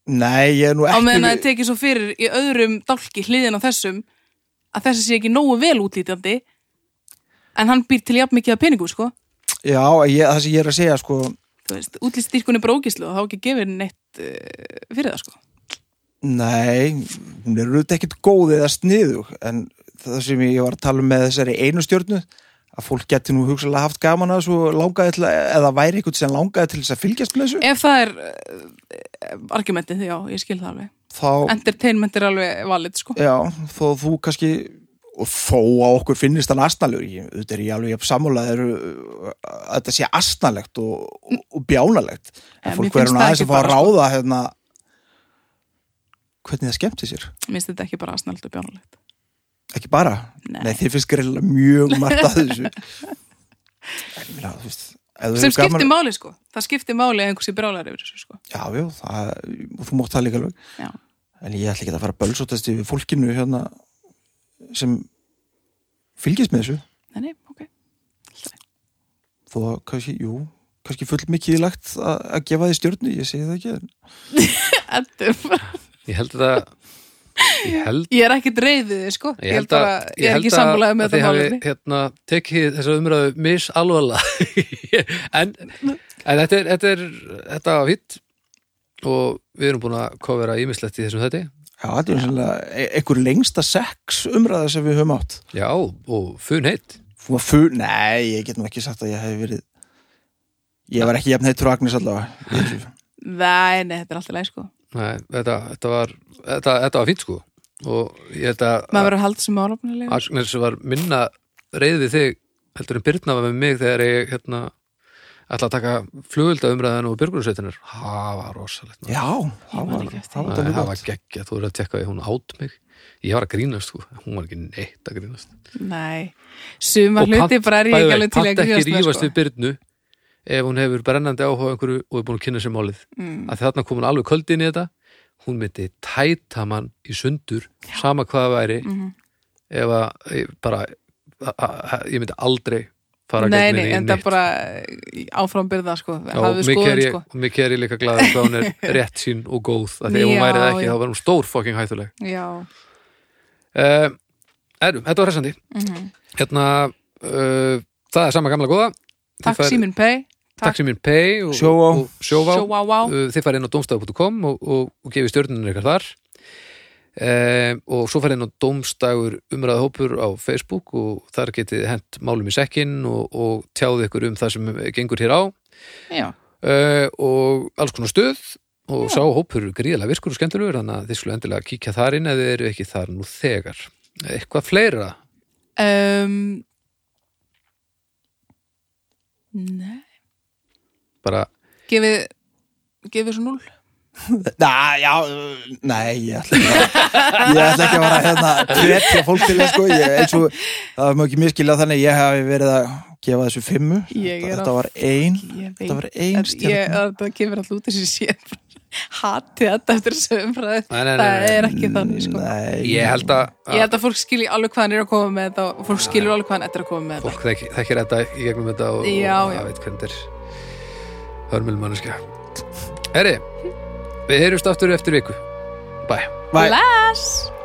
A: nei, ég er nú
B: á meðan að
A: ekki
B: það tekið svo fyrir í öðrum dálki hliðin á þessum að þessi sé ekki nógu vel útlítjandi en hann býr til jafn mikið að peningum sko
A: já, ég, það sem ég er að segja sko
B: þú veist, útlýstýrkun er bara ógíslu og þá ekki gefið henni neitt uh, fyrir það sko
A: nei, hún er auðvitað ekkert góð eða sniðug en það sem ég var að tala um með þessari einu stjórnu að fólk geti nú hugsalega haft gaman að þessu og langaði til að, eða væri eitthvað sem langaði til þess að fylgjast með þessu
B: ef það er uh, argumentið, já, ég skil það alveg
A: þá,
B: entertainment er alveg valid sko
A: já, þó þú kannski og þó að okkur finnist hann astnalur auðvitað er ég alveg jafn sammála að þetta sé astnalegt og, og, og bjánalegt
B: Ja,
A: en
B: mér
A: fólk verður
B: finnst
A: nú
B: það
A: aðeins
B: ekki
A: að fá að
B: bara, sko.
A: ráða hérna, hvernig það skemmti sér
B: minnst þetta ekki bara snelt og bjánulegt
A: ekki bara,
B: Nei.
A: nei, þið finnst greiðlega mjög margt að
B: <laughs>
A: þessu en ég meina, þú veist ef þú
B: sem
A: hefur gaman-
B: skiptir máli sko, það skiptir máli að einhversi brálar yfir þessu sko
A: já, já, það, og þú mátt það líka alveg
B: já.
A: en ég ætla ekki að fara að bölsótast yfir fólkinu hérna sem fylgist með þessu
B: Nei, nei, ok.
A: þó að kannski, jú, kannski fullmikið lagt að, að gefa því stjörnu, ég segi það ekki en-
B: Þetta er bara-
C: ég held að ég held
B: ég er ekkit reyðið sko ég, held bara, ég, er
C: held
B: ekki
C: að-
B: sammálaðið með
C: að þið
B: þetta
C: hafi,
B: máli
C: hérna, tekið þessa umræðu misalvarlega <laughs> en, en þetta er þetta, er, þetta var hitt og við erum búin að kofera ímislegt í þessum þetta
A: Já, þetta er sannlega einhver lengsta sex umræða sem við höfum átt
C: Já, og fun heitt
A: Fú, fú, Nei, ég get nú ekki sagt að ég hef verið Ég var ekki jafn heitur og Agnes
B: <laughs>
A: allavega Í þessu.
B: Nei, nei, þetta er alltaf leið sko
C: Nei, þetta, þetta var þetta, þetta var fínt sko og ég held að
B: Maður verður að halda sem álopnulega
C: Agnes var minna reyð við þig heldur en Birna var með mig þegar ég hérna ætla að taka flugölda umræðan og björgunarsveitinir það var rosalegt maður.
A: Já, það
B: man
A: var,
B: ekki eftir
A: það
C: Nei,
A: var dálítið
C: það var
A: gott
C: geggja, þú verður að tekka að hún átt mig ég var að grínast sko, hún var ekki neitt að grínast
B: Nei, suma hluti
C: pant-
B: bara er ég
C: bæði vei,
B: ekki alveg til
C: pant
B: að gríðast
C: ekki
B: með,
C: rífast
B: sko.
C: við Birnu ef hún hefur brennandi áhuga á einhverju og er búin að kynna sér málið mm. að þarna kom hún alveg köldin í þetta hún myndi tæta mann í sundur sama hvað það væri
B: Mhm.
C: ef að ég bara a- a- a- ég myndi aldrei fara
B: Nei,
C: gegn
B: nei,
C: henni í
B: en það
C: neitt.
B: bara áframbyrða sko,
C: og
B: hafðu
C: mikið er,
B: skoðun
C: ég,
B: sko
C: og mikið er ég líka glaður hvað hún er
B: <laughs>
C: rétt sín og góð að því ef hún
B: Já,
C: væri það ekki
B: já.
C: þá var hún stór fucking hættuleg
B: Já,
C: uh, erum, þetta var hressandi
B: Mhm.
C: hérna uh, það er sama gamla góða Þið
B: takk
C: farið-
B: Símin Pei
C: Takk sem minn pay og,
A: Sjóvá.
C: og sjóvá.
B: Sjó, wow, wow.
C: Uh, Þið farið inn á domstag.com og, og, og gefið stjörnunum ykkar þar um, og svo farið inn á domstagur umræða hópur á Facebook og þar getið hent málum í sekkin og, og tjáði ykkur um það sem gengur hér á
B: Já,
C: uh, og alls konar stöð og sá hópur er gríðlega virkur og skemmtilegur þannig að þið skulle endilega kíkja þar inn ef þið eru ekki þar nú þegar eitthvað fleira
B: um, Nei
C: bara
B: Gefið Gefið svo núl
A: Næ, já, uh, nei, ég ætla ekki að, ég ætla ekki að vera hérna hvetja fólk til þess sko, ég, eins og það má ekki miskilja þannig, ég hafi verið að gefa þessu fimmu,
B: Ég er
A: þetta,
B: á-
A: þetta var ein,
B: Ég
A: þetta var
B: veit
A: ein
B: en ég,
A: stjörn.
B: Það kemur alltaf út þessi sé <laughs> Hati þetta eftir þessu umræði
C: Nei, nei, nei,
B: Það
C: nei.
B: er ekki þannig sko
A: Nei,
C: ég held að,
B: Ég
C: að
B: held að fólk skilji alveg hvað hann er að koma með þetta og fólk skilur alveg hvað hann er að koma með þetta
C: fólk þekki- þekkir þetta í gegnum þetta og,
B: Já,
C: og
B: já.
C: það veit hvernig þetta er hörmul manneskja Herri, við heyrjumst aftur eftir viku Bæ
A: Bæ.
B: Bless